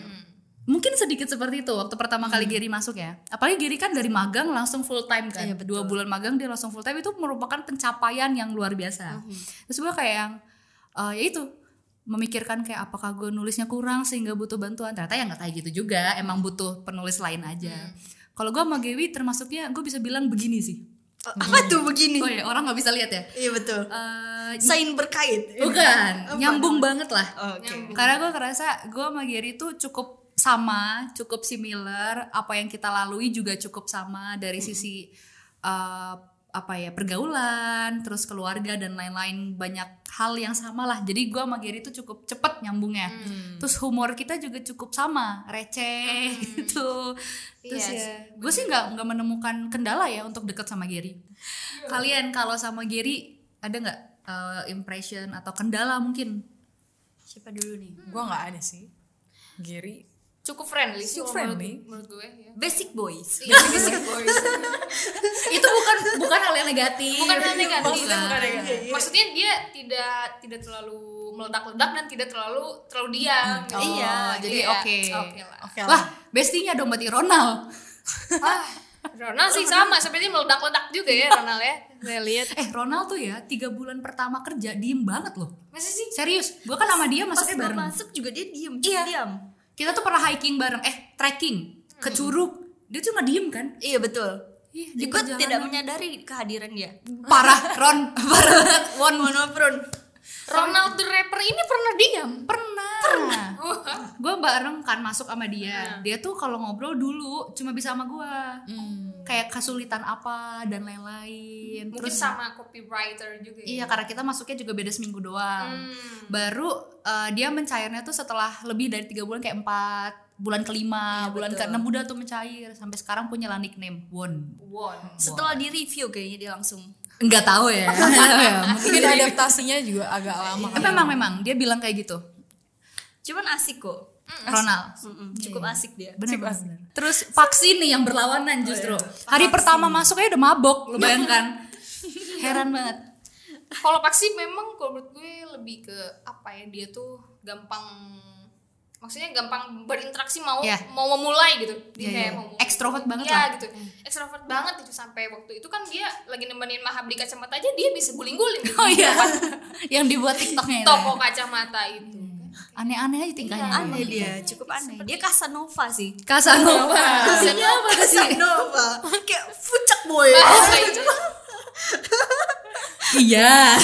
mungkin sedikit seperti itu waktu pertama kali Giri masuk ya apalagi Giri kan dari magang langsung full time kan dua bulan magang dia langsung full time itu merupakan pencapaian yang luar biasa terus gue kayak yang eh, ya itu memikirkan kayak apakah gue nulisnya kurang sehingga butuh bantuan ternyata ya nggak kayak gitu juga emang butuh penulis lain aja kalau gue sama Gewi termasuknya gue bisa bilang begini sih Eh, Apa tuh begini? oh ya orang nggak bisa lihat ya Iya betul. Eh, Sain berkait. bukan Apa? nyambung banget lah Oke. karena gue ngerasa gue sama Gary tuh cukup sama, cukup similar. Apa yang kita lalui juga cukup sama dari sisi uh, apa ya pergaulan, terus keluarga dan lain-lain banyak hal yang sama lah. Jadi gue sama Gary tuh cukup cepet nyambungnya. Mm. Terus humor kita juga cukup sama, receh <laughs> gitu. Terus Iya ya, gue sih nggak nggak menemukan kendala ya untuk deket sama Gary. Iya. Kalian kalau sama Gary ada nggak uh, impression atau kendala mungkin? Siapa dulu nih? Gue nggak ada sih. Giri. cukup friendly sih Cukup kalau menurut- friendly. menurut gue ya Basic Boys. Iya, basic boys. <laughs> itu bukan bukan hal yang negatif Iya, bukan hal negatif Maksudnya bukan yang- maksudnya dia tidak tidak terlalu meledak-ledak dan tidak terlalu terlalu diam Hmm. Oh, gitu. iya jadi ya, oke lah Oke wah lah. bestinya dong berarti Ronald ah Ronald sih sama seperti meledak-ledak juga ya Ronald ya saya lihat eh Ronald tuh ya tiga bulan pertama kerja diem banget loh masa sih serius gue kan sama dia Pas masuknya gua bareng masuk juga dia diem. Iya. Diam. kita tuh pernah hiking bareng eh trekking ke Curug dia tuh nggak diem kan Iya betul. Ih, di Gue perjalanan. tidak menyadari kehadiran dia. Iya, parah Ron <laughs> parah banget. Won Monopron. Ronald the rapper ini pernah diam pernah, gue bareng kan masuk sama dia dia tuh kalau ngobrol dulu cuma bisa sama gue kayak kesulitan apa dan lain-lain Hmm. mungkin sama copywriter juga Iya ya. karena kita masuknya juga beda seminggu doang. Hmm. Baru eh, dia mencairnya tuh setelah lebih dari tiga bulan kayak empat bulan Iya, kelima bulan ke enam udah tuh mencair sampai sekarang punya lah nickname Won. Won Setelah di review kayaknya dia langsung. Enggak tahu <laughs> ya. Mungkin adaptasinya juga agak lama. memang memang dia bilang kayak gitu. Cuman asik kok. Ronald. Mm-mm, cukup Iya. asik dia Bener, bener. Terus vaksin nih yang berlawanan justru. Hari pertama masuknya udah mabok, lu bayangkan. Heran banget. Kalau Paksi memang kalau menurut gue lebih ke apa ya dia tuh gampang maksudnya gampang berinteraksi mau Iya. mau memulai gitu dia Iya, kayak iya. mau memulai. Ekstrovert banget Iya, lah. Hmm. gitu ekstrovert banget itu sampai waktu itu kan dia lagi nemenin Mahab di kacamata aja dia bisa guling-guling gitu. <laughs> Oh iya. yang dibuat TikToknya itu. toko kacamata itu Hmm. Aneh-aneh aja tingkahnya. aneh dia cukup aneh dia Casanova sih Casanova. Maksudnya apa sih? Casanova kayak pucak boy Bahasa <laughs> itu iya.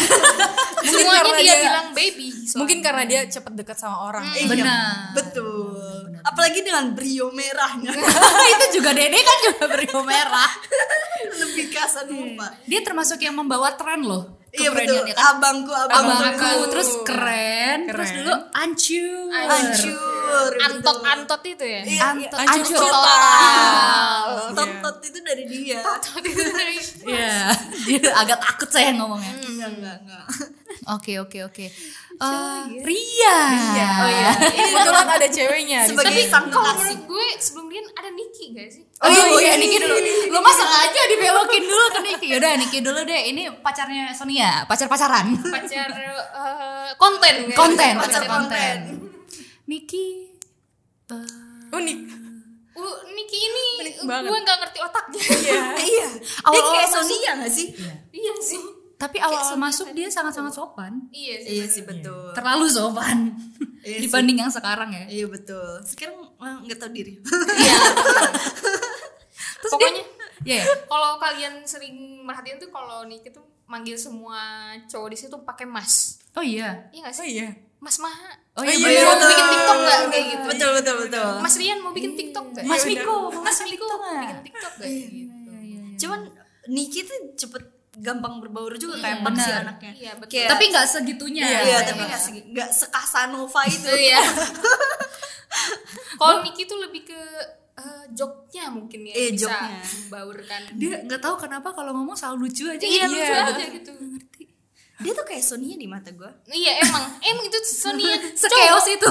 semuanya karena dia dia- bilang baby soalnya. Mungkin karena dia cepet dekat sama orang. Iya, Benar. betul apalagi dengan brio <laughs> merahnya itu juga Dede kan juga berio merah. lebih Casanova Dia termasuk yang membawa tren loh. iya betul Hmm. keberaniannya kan. abangku abangku Abangku, terus keren, terus Keren. dulu ancur. hancur antot antot itu ya Iya, Antot- iya. Ancut Ancut total. total. Tot-tot itu dari dia. Antot itu dari Iya, dia agak takut saya ngomongnya. Enggak, enggak, enggak. Oke oke oke. Eh, Ria. Oh iya. Kebetulan ada ceweknya. di Sebagai sini. sang kalau kekasih. menurut gue sebelum dia ada Niki gak sih Oh iya, oh, iya Niki dulu. Lu mah sengaja dibelokin dulu ke Niki. Yaudah Niki dulu deh. Ini pacarnya Sonia, pacar pacaran. pacar eh, konten kayaknya. Konten, Pacar pacar konten. konten. Niki. unik. Uh, Niki ini banget. gue nggak ngerti otaknya <laughs> Iya. Dia Awal-awal kayak masuk- Sonia enggak sih? iya sih Tapi awal masuk dia sangat-sangat sopan. iya sih Iya sih, betul. Terlalu sopan. Iya sih. Dibanding yang sekarang ya. Iya, betul. Sekarang eh, enggak tahu diri. Terus pokoknya dia, ya, kalau kalian sering merhatiin tuh kalau Niki tuh manggil semua cowok di situ pakai mas Oh iya. iya gak Oh sih iya. mas Maha Oh iya, iya. iya. bener. mau bikin TikTok nggak kayak gitu Betul, betul, betul. Mas Rian mau bikin TikTok gak? Mas Iya, Miko, Mas Miko TikTok nggak? bikin TikTok gak? Gitu. Cuman Niki tuh cepet gampang berbaur juga kayak Iya, Paksi bener. anaknya. Iya betul. Kayak- <laughs> Tapi nggak segitunya. Iya, Iya, tapi enggak segi- enggak sekasanova itu. <laughs> Tuh ya. Kalau Niki tuh lebih ke eh, joknya mungkin ya Iya, bisa joknya. membaurkan. Dia nggak tahu kenapa kalau ngomong selalu lucu aja. Iya, gitu. lucu aja gitu. Dia tuh kayak Sonia di mata gua. Iya emang, emang itu <laughs> Sonia Sekeos itu.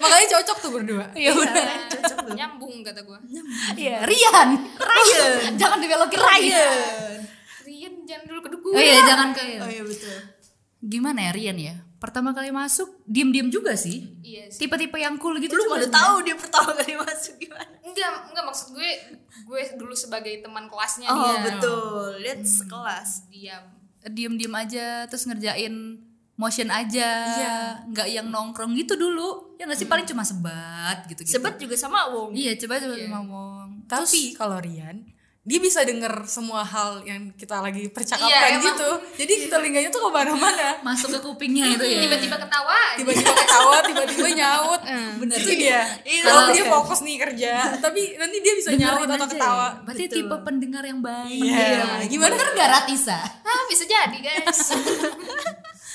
Makanya cocok tuh berdua. Iya benar. Cocok loh. nyambung kata gue. Iya, Rian. Ryan. <laughs> jangan dibelokin Iya. Ryan. Rian jangan dulu ke Oh iya, jangan ke. Oh iya, betul. Gimana ya Rian ya? Pertama kali masuk diam-diam juga sih. Iya sih. Tipe-tipe yang cool gitu. Lu juga baru sih. tahu dia pertama kali masuk gimana. Enggak, enggak maksud gue gue dulu sebagai teman kelasnya Oh dia. betul, dia sekelas. Diam. Diam-diam aja terus ngerjain motion aja. nggak yang nongkrong gitu dulu. Ya nggak sih paling cuma sebat gitu gitu. Sebet juga sama Wong. Iya, coba coba ngomong. Tapi kalau Rian, dia bisa denger semua hal yang kita lagi Iya, percakapkan emang. gitu. Jadi telinganya tuh kemana-mana. Masuk ke kupingnya <laughs> itu ya. Tiba-tiba ketawa. aja. Tiba-tiba ketawa, tiba-tiba nyaut. Bener. Itu dia. Kalau dia fokus nih kerja, tapi nanti dia bisa nyaut Dengerin atau aja ketawa. ya. Berarti tipe pendengar yang baik. Iya. Gimana kan enggak Ratisa? Hah, Ah, bisa jadi <laughs> guys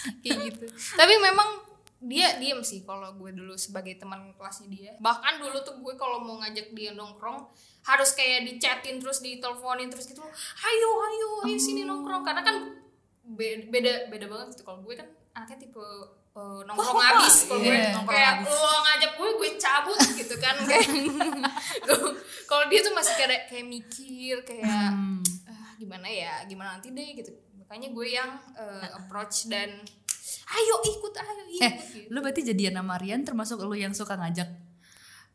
kayak gitu tapi memang dia diem sih kalau gue dulu sebagai teman kelasnya dia bahkan dulu tuh gue kalau mau ngajak dia nongkrong harus kayak dicatin terus diteleponin terus gitu ayo ayo ayo sini nongkrong karena kan be- beda beda banget gitu kalau gue kan anaknya tipe eh, nongkrong abis kalau gue Iya, nongkrong kayak abis. lo ngajak gue gue cabut gitu <laughs> kan kayak kalau dia tuh masih kayak kayak mikir kayak Hmm. ah, gimana ya gimana nanti deh gitu makanya gue yang eh, approach dan ayo ikut ayo ikut Nah. Eh, gitu. lu berarti jadian sama Rian termasuk lu yang suka ngajak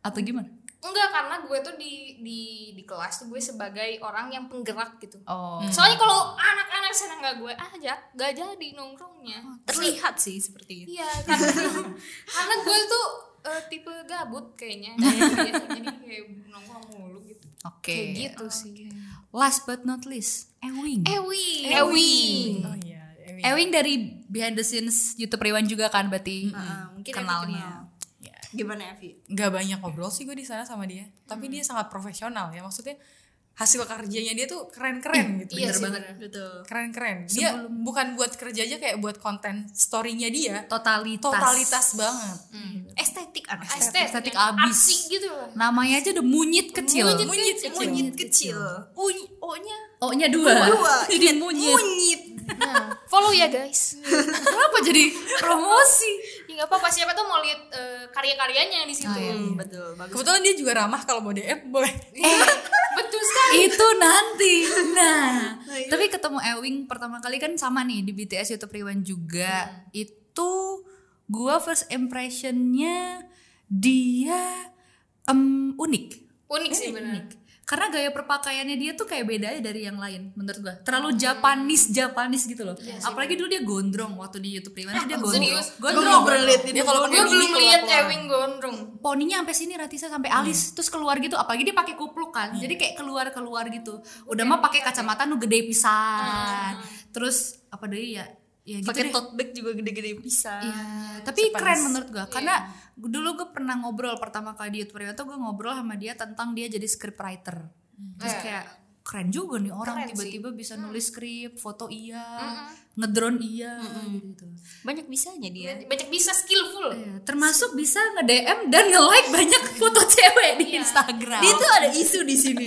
atau gimana? enggak karena gue tuh di di di kelas tuh gue sebagai orang yang penggerak gitu Oh. soalnya kalau anak-anak sana nggak gue ajak nggak jadi nongkrongnya Oh. Terlihat sih seperti itu. iya karena <laughs> karena gue tuh eh, tipe gabut kayaknya jadi, jadi kayak nongkrong mulu gitu Oke. Eh, kayak gitu sih Eh, Last but not least, Ewing. Ewi Oh iya. Emi. Ewing dari behind the scenes YouTube Rewan juga kan Hmm, berarti Ah, mungkin Evi kenalnya. kenal. Gimana Evi? nggak banyak ngobrol sih gue di sana sama dia Hmm. tapi dia sangat profesional ya maksudnya hasil kerjanya dia tuh keren-keren gitu iya sih Bener-bener. bener. Betul. keren-keren dia bukan buat kerja aja kayak buat konten storynya dia Totalitas. totalitas banget Hmm. Estetik anak. Estetik kan? abis. Asik gitu loh Namanya aja udah munyit kecil. Munyit kecil. Monyet kecil. Uny- O-nya O-nya dua. dua. <laughs> jadi munyit. Monyet. follow ya guys Kenapa jadi promosi? ya nggak apa-apa siapa tuh mau lihat eh, karya-karyanya di situ Iya, betul bagus Kebetulan dia juga ramah kalau mau DM boleh. betul sekali itu nanti nah iya. tapi ketemu Ewing pertama kali kan sama nih di BTS YouTube Rewind juga Hmm. itu gua first impressionnya dia em, unik unik sih Iya, benar karena gaya perpakaiannya dia tuh kayak beda aja dari yang lain menurut gua Oh. terlalu Japanese Japanese gitu loh apalagi dulu dia gondrong waktu di YouTube Rewind tuh dia gondrong Iya serius? gondrong Dia kalau gue punya belum gini lihat keluar-keluar. Ewing gondrong poninya sampai sini Ratisa sampai Hmm. alis terus keluar gitu apalagi dia pakai kupluk kan jadi kayak keluar keluar gitu udah Iya, mah pakai kacamata nu gede pisan terus apa deh ya ya gitu Hmm, pakai deh. tote bag juga gede-gede Iya. pisah Iya, tapi keren menurut gua karena dulu gue pernah ngobrol pertama kali di YouTube Rewind tuh gue ngobrol sama dia tentang dia jadi script writer. Hmm. Terus Iya. kayak keren juga nih orang tiba-tiba bisa nulis skrip, foto iya, Hmm, ngedrone iya gitu. banyak bisanya dia banyak bisa skillful Iya, termasuk bisa nge-DM dan nge-like banyak foto cewek di Instagram. dia tuh ada isu di <laughs> sini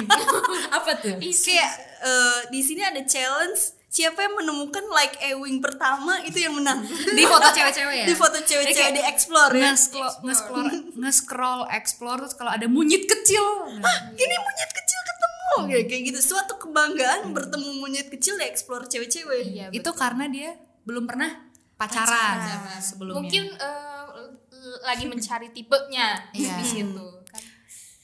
apa tuh? kayak eh, di sini ada challenge siapa yang menemukan like Ewing pertama itu yang menang <laughs> Di foto cewek-cewek ya? di foto cewek-cewek di explore ya Nge-scroll, nge-scroll, nge-scroll, explore terus kalau ada monyet kecil. Nah, ini monyet kecil ketemu kayak kayak gitu suatu kebanggaan bertemu monyet kecil di explore cewek-cewek itu karena dia belum pernah pacaran, sebelumnya. mungkin eh, l- lagi mencari tipenya Iya. di situ kan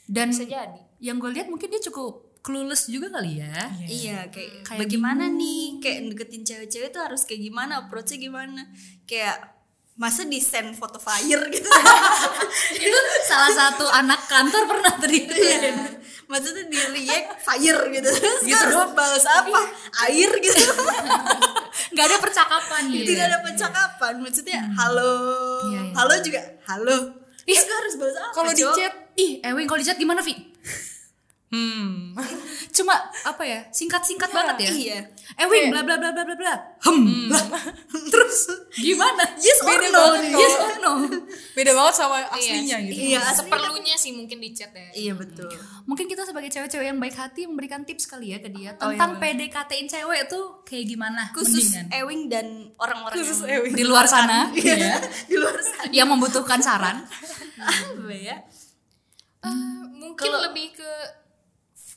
dan bisa jadi yang gue lihat mungkin dia cukup clueless juga kali ya. Iya kayak, Kayak bagaimana nih kayak deketin cewek-cewek tuh harus kayak gimana approach-nya gimana kayak masa di send foto fire gitu itu salah satu anak kantor pernah terjadi. Iya. <laughs> maksudnya di react fire gitu terus Gitu harus doang. balas apa air gitu Gak ada percakapan gitu. tidak ada percakapan maksudnya halo Iya, iya. halo juga halo terus gue harus balas apa Kalau di Cok? chat, Ih, Ewing kalau di chat gimana, Vi? hmm. <laughs> Cuma apa ya? Singkat-singkat banget ya. iya Ewing bla bla bla bla bla bla. Hem. <laughs> Lah, Terus gimana? yes or Beda no banget nih. kalau- Yes or no? Beda banget sama aslinya gitu. iya asli seperlunya sih mungkin di chat ya iya betul Mungkin kita sebagai cewek-cewek yang baik hati memberikan tips kali ya ke dia tentang PDKT-in cewek tuh kayak gimana? khusus mendingan. Ewing dan orang-orang Khusus yang Ewing. di luar sana Iya, di luar sana yang membutuhkan saran. apa ya Eh, mungkin lebih ke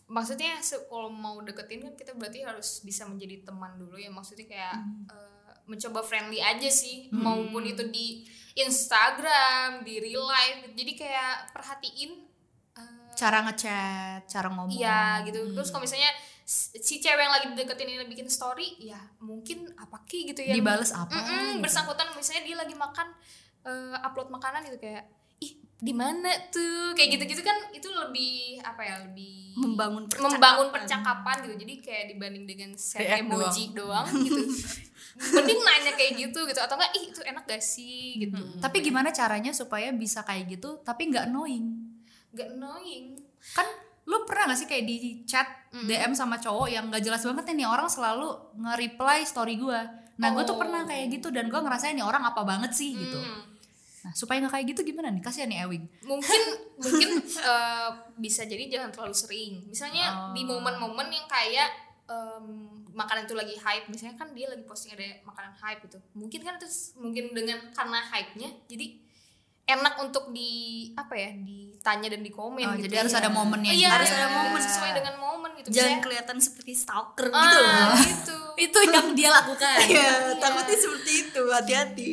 maksudnya se- kalau mau deketin kan kita berarti harus bisa menjadi teman dulu ya maksudnya kayak eh, mencoba friendly aja sih maupun itu di Instagram di real life jadi kayak perhatiin eh, Cara ngechat, cara ngomong. Iya gitu. Terus kalau misalnya s- si cewek yang lagi deketin ini bikin story, ya mungkin apa ki gitu ya. Dibales apa, gitu. bersangkutan misalnya dia lagi makan eh, upload makanan gitu kayak ih di mana tuh kayak gitu-gitu kan itu lebih apa ya lebih Membangun percakapan. membangun percakapan gitu jadi kayak dibanding dengan set DM emoji doang, gitu mending nanya kayak gitu gitu atau enggak ih itu enak gak sih gitu Tapi gimana caranya supaya bisa kayak gitu tapi nggak annoying? nggak annoying Kan lu pernah gak sih kayak di chat Hmm. DM sama cowok yang gak jelas banget nih, nih orang selalu nge-reply story gua. Nah, gue tuh Oh. pernah kayak gitu dan gua ngerasain nih orang apa banget sih gitu. Hmm. Nah, supaya nggak kayak gitu gimana nih? Kasihan nih Ewing. mungkin mungkin eh, bisa jadi jangan terlalu sering Oh. misalnya di momen-momen yang kayak em, makanan itu lagi hype misalnya kan dia lagi posting ada makanan hype gitu mungkin kan terus mungkin dengan karena hype nya jadi enak untuk di apa ya ditanya dan dikomen Oh, gitu jadi harus ada momennya Iya, juga. harus ada momen sesuai dengan momen gitu jangan Misalnya, kelihatan seperti stalker ah, gitu <laughs> loh gitu Itu yang dia lakukan. Iya, takutnya seperti itu, hati-hati.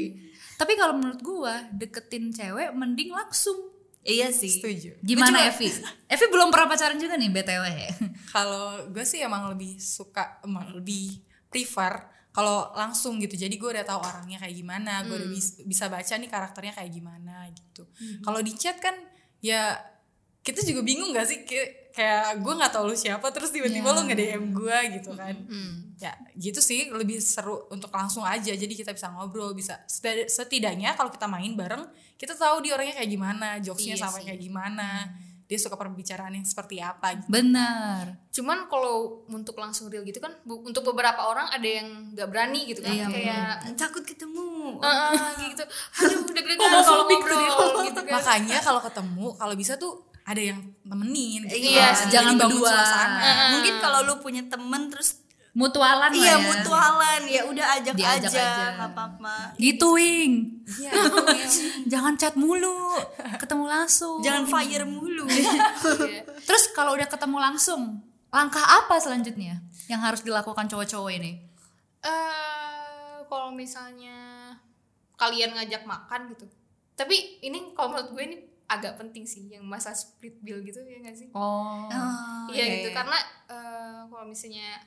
Tapi kalau menurut gua deketin cewek mending langsung. Iya sih. Setuju. Gimana Evi? <laughs> Evi belum pernah pacaran juga nih <laughs> BTW. Kalau gue sih emang lebih suka, emang lebih prefer kalau langsung gitu. Jadi gue udah tahu orangnya kayak gimana, gue Hmm. udah bis- bisa baca nih karakternya kayak gimana gitu. Kalau di chat kan ya kita juga bingung gak sih Kay- kayak gue nggak tahu lu siapa terus tiba-tiba Ya. lu nge DM gue gitu kan. Hmm. Hmm. Ya gitu sih lebih seru untuk langsung aja. Jadi kita bisa ngobrol, bisa setid- setidaknya kalau kita main bareng kita tahu dia orangnya kayak gimana, jokesnya Iya sampai sih. Hmm. kayak gimana. Dia suka perbicaraan yang seperti apa gitu. Bener. cuman kalau untuk langsung real gitu kan bu- untuk beberapa orang ada yang nggak berani gitu kan Iya, kayak Takut ketemu. Heeh, kayak gitu aduh udah gregetan kalau ngobrol gitu kan Makanya kalau ketemu kalau bisa tuh ada yang nemenin gitu. Iya Jadi jangan bangun berdua. suasana. Mungkin kalau lu punya temen terus mutualan lah ya. iya mutualan ya udah ajak Diajak aja aja. nggak apa-apa Gituing. Iya. Gitu, <laughs> Jangan chat mulu, ketemu langsung. jangan fire mulu ya. Iya. Terus kalau udah ketemu langsung, langkah apa selanjutnya yang harus dilakukan cowok-cowok ini? eh kalau misalnya kalian ngajak makan gitu. Tapi ini kalau menurut gue ini agak penting sih yang masa split bill gitu ya nggak sih? Oh. Iya gitu karena eh, kalau misalnya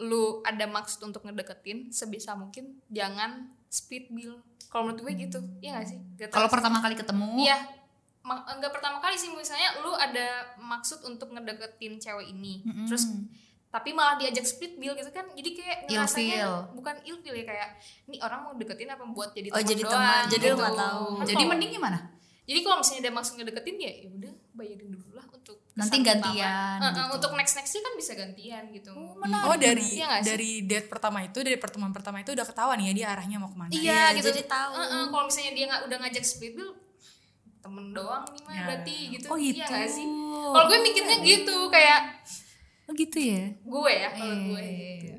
lu ada maksud untuk ngedeketin sebisa mungkin jangan split bill. Kalau menurut gue gitu. Iya nggak sih? Gak tau Kalau sih. pertama kali ketemu, Iya. Ma- Enggak pertama kali sih misalnya lu ada maksud untuk ngedeketin cewek ini. Mm-mm. Terus tapi malah diajak split bill gitu kan. Jadi kayak ngerasanya Ilfeel. bukan ilfeel ya kayak ini orang mau deketin apa buat jadi Oh, teman jadi doang. teman. Jadi lu gitu. nggak tahu. Kan jadi kalau- mending gimana? Jadi kalau misalnya ada maksud ngedeketin ya ya udah bayarin dulu lah untuk Nanti kesan pertama. gantian Eh, eh, gitu. Untuk next nextnya kan bisa gantian gitu. Oh dari Iya nggak sih? dari date pertama itu dari pertemuan pertama itu udah ketahuan ya dia arahnya mau kemana? Iya, Iya, gitu. jadi tahu. Eh, eh, kalau misalnya dia nggak udah ngajak split bill temen doang nih mah Ya. berarti gitu. Oh, gitu. Iya nggak sih? Kalau gue mikirnya gitu kayak Oh gitu ya. gue ya kalau gue Iya.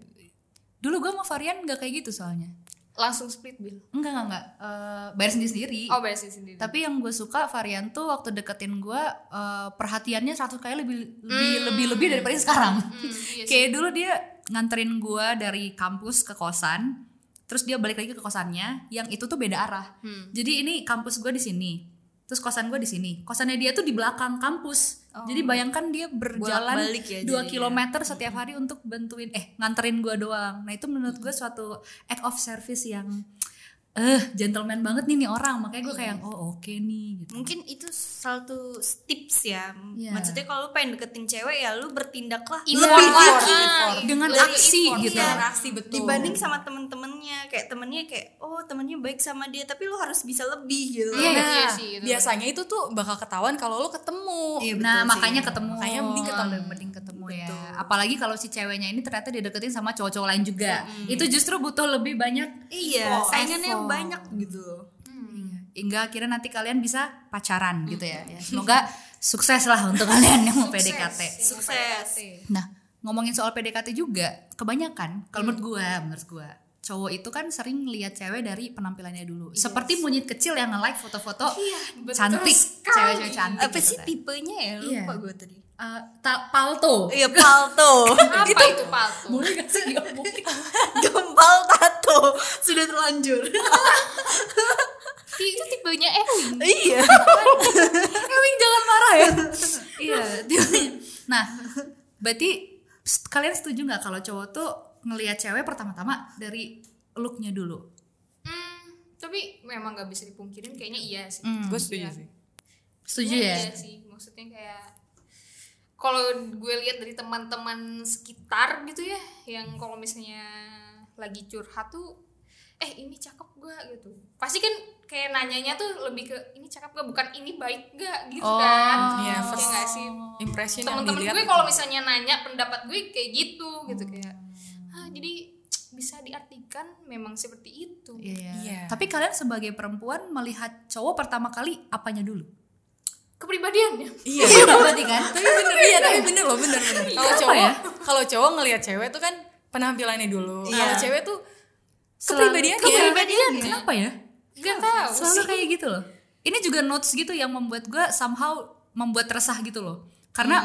Dulu gue sama varian nggak kayak gitu soalnya. langsung split bill. Enggak enggak enggak. Eh, bayar sendiri sendiri. Oh bayar sendiri. Tapi yang gue suka varian tuh waktu deketin gue eh, perhatiannya 100 kali lebih lebih lebih lebih daripada yang sekarang. Hmm, iya sih. Kayak dulu dia nganterin gue dari kampus ke kosan, terus dia balik lagi ke kosannya, yang itu tuh beda arah. Hmm. Jadi ini kampus gue di sini, terus kosan gue di sini. Kosannya dia tuh di belakang kampus. Jadi bayangkan dia berjalan Oh. Bolak-balik ya 2 jadinya. km setiap hari untuk bantuin eh nganterin gue doang. Nah, itu menurut gue suatu act of service yang eh gentleman banget nih nih orang. Makanya gue kayak oh oke nih gitu. Iya. mungkin itu satu tips ya Iya. maksudnya kalau lu pengen deketin cewek ya lu bertindaklah Iya, lebih lah. lagi Ah, dengan lebih aksi effort. gitu. Iya. Interaksi betul. dibanding sama temen-temennya kayak temennya kayak oh temennya baik sama dia tapi lu harus bisa lebih gitu Iya, Nah, iya sih, itu. biasanya itu tuh bakal ketahuan kalau lo ketemu. Iya, nah betul makanya sih. ketemu Makanya mending ketemu. Lebih mending ketemu ya apalagi kalau si ceweknya ini ternyata dideketin sama cowok-cowok lain juga itu justru butuh lebih banyak iya Effort. saingannya Effort. banyak gitu hingga akhirnya nanti kalian bisa pacaran gitu ya Ya, semoga sukses lah untuk kalian yang mau Sukses. PDKT Sukses. nah ngomongin soal PDKT juga kebanyakan kalau menurut gua menurut gua cowok itu kan sering lihat cewek dari penampilannya dulu seperti monyet kecil yang nge-like foto-foto betul cantik sekali. cewek-cewek cantik apa gitu sih kan. tipenya ya Iya. lupa gue tadi Eh, ta- palto iya palto Apa itu, palsu? boleh gak sih diomongin? gempal tato sudah terlanjur Itu tipenya eh. Erwin. iya Ewing jangan marah ya. iya. dia- <laughs> nah, berarti s- kalian setuju nggak kalau cowok tuh ngelihat cewek pertama-tama dari looknya dulu? Hmm, tapi memang nggak bisa dipungkirin kayaknya iya sih. Gue setuju Iya. sih. Hmm, Setuju Iya, ya? iya sih maksudnya kayak kalau gue lihat dari teman-teman sekitar gitu ya yang kalau misalnya lagi curhat tuh eh ini cakep gak gitu pasti kan kayak nanyanya tuh lebih ke ini cakep gak bukan ini baik gak gitu Oh, kan Iya iya, first- nggak sih Impression yang temen-temen dilihat. gue kalau misalnya nanya pendapat gue kayak gitu gitu kayak ah jadi bisa diartikan memang seperti itu Iya. Iya. Tapi kalian sebagai perempuan melihat cowok pertama kali apanya dulu? kepribadiannya Iya. berarti kan? <laughs> tapi bener iya tapi bener loh bener bener Iya. kalau Kenapa cowok ya? kalau cowok ngelihat cewek tuh kan penampilannya dulu Iya. kalau cewek tuh Selalu- kepribadiannya Kepribadian. Kenapa ya? gak Iya, tahu Selalu sih. kayak gitu loh. Ini juga notes gitu yang membuat gue somehow membuat resah gitu loh. Hmm. Karena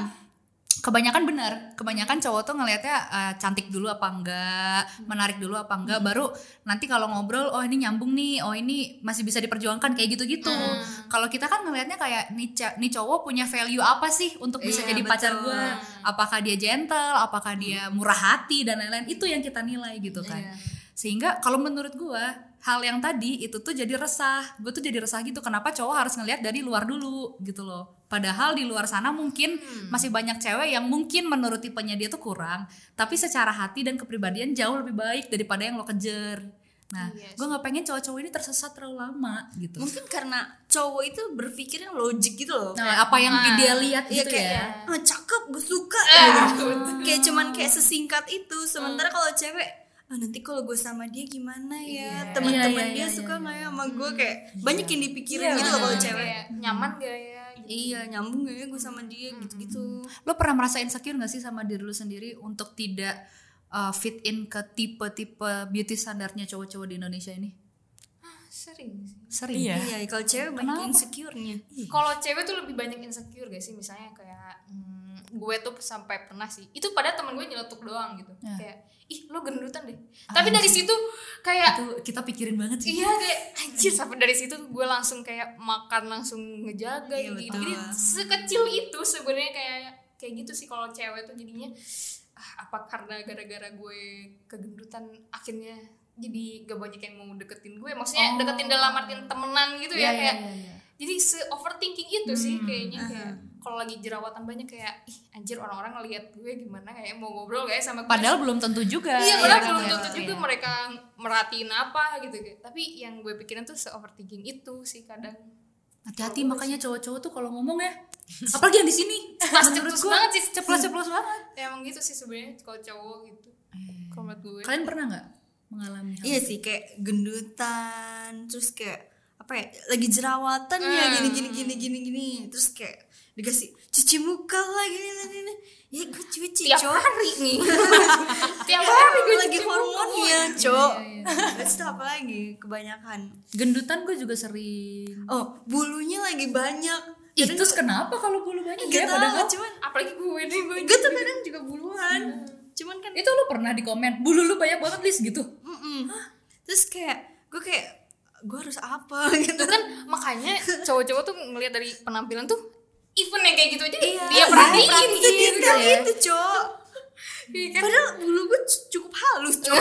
kebanyakan benar, kebanyakan cowok tuh ngelihatnya eh, cantik dulu apa enggak, menarik dulu apa enggak, Hmm. baru nanti kalau ngobrol oh ini nyambung nih, oh ini masih bisa diperjuangkan kayak gitu-gitu. Hmm. Kalau kita kan ngelihatnya kayak nih, ca- nih cowok punya value apa sih untuk bisa Iya, jadi pacar betul. gue? Apakah dia gentle, apakah dia murah hati dan lain-lain. Itu yang kita nilai gitu kan Iya. sehingga kalau menurut gua hal yang tadi itu tuh jadi resah gue tuh jadi resah gitu kenapa cowok harus ngelihat dari luar dulu gitu loh padahal di luar sana mungkin masih banyak cewek yang mungkin menurut tipenya dia tuh kurang tapi secara hati dan kepribadian jauh lebih baik daripada yang lo kejar nah Iya gua nggak pengen cowok-cowok ini tersesat terlalu lama gitu mungkin karena cowok itu berpikirnya logik gitu loh nah apa yang Ah, dia lihat Iya gitu kayak ya Eh, "Ah, cakep gue suka gitu. kayak cuman kayak sesingkat itu sementara Hmm. kalau cewek "Ah, nanti kalau gue sama dia gimana Iya, ya iya, teman-teman dia iya, Hmm. suka nggak ya sama gue kayak banyak yang dipikirin gitu loh kalau cewek Iya, Kayak nyaman gak ya gitu. iya nyambung gak ya gue sama dia gitu gitu lo pernah merasa insecure gak sih sama diri lo sendiri untuk tidak uh, fit in ke tipe-tipe beauty standarnya cowok-cowok di Indonesia ini? sering sih Sering. Iya. Iya, kalau cewek banyak insecure-nya. kalau cewek tuh lebih banyak insecure gak sih misalnya kayak hmm, gue tuh sampai pernah sih itu pada temen gue nyeletuk doang gitu Iya. kayak ih lo gendutan deh Ah, tapi dari situ kayak Itu kita pikirin banget sih. iya kayak anjir sampai dari situ gue langsung kayak makan langsung ngejaga Iya, gitu betul. jadi sekecil itu sebenarnya kayak kayak gitu sih kalau cewek tuh jadinya ah, apa karena gara-gara gue kegendutan akhirnya jadi gak banyak yang mau deketin gue Oh. maksudnya deketin dalam artian temenan gitu Iya, ya kayak jadi se overthinking itu sih Hmm, kayaknya kayak kalau lagi jerawatan banyak kayak ih anjir orang-orang ngelihat gue gimana kayak mau ngobrol kayak sama gue Padahal belum tentu juga. iya padahal kan, belum ya. tentu juga Iya. mereka merhatiin apa gitu tapi yang gue pikirin tuh se overthinking itu sih kadang Hati-hati makanya cowok-cowok tuh kalau ngomong ya. <laughs> Apalagi yang di sini. Nah, ceplos-ceplos banget sih Ceplos-ceplos banget. ya, <laughs> emang gitu sih sebenarnya kalau cowok gitu Eh, kalau menurut gue Kalian pernah nggak mengalami hal Iya sih kayak gendutan, terus kayak apa ya? Lagi jerawatan ya Hmm. gini gini gini gini gini. Terus kayak dikasih cuci muka lah gini gini. gini. Ya gue cuci tiap cowok. hari <laughs> nih tiap hari gue lagi cuci muka. Iya, hormonnya, cowok. Terus itu apa lagi? Kebanyakan. gendutan gue juga sering. Oh, bulunya lagi banyak. Ih, terus kenapa kalau bulu Iya, banyak Gak ya padahal tau, cuman apalagi gue nih gue Iya. gue tuh kadang juga buluan. Cuman kan itu lu pernah di komen bulu lu banyak banget list gitu mm-mm. Terus kayak gue kayak gue harus apa gitu Itu kan makanya cowok-cowok tuh ngelihat dari penampilan tuh even yang kayak gitu aja Iya, dia iya, perhatiin perhatiin gitu detail ya. itu, Cok. Iya kan? Padahal bulu gue cu- cukup halus, Cok.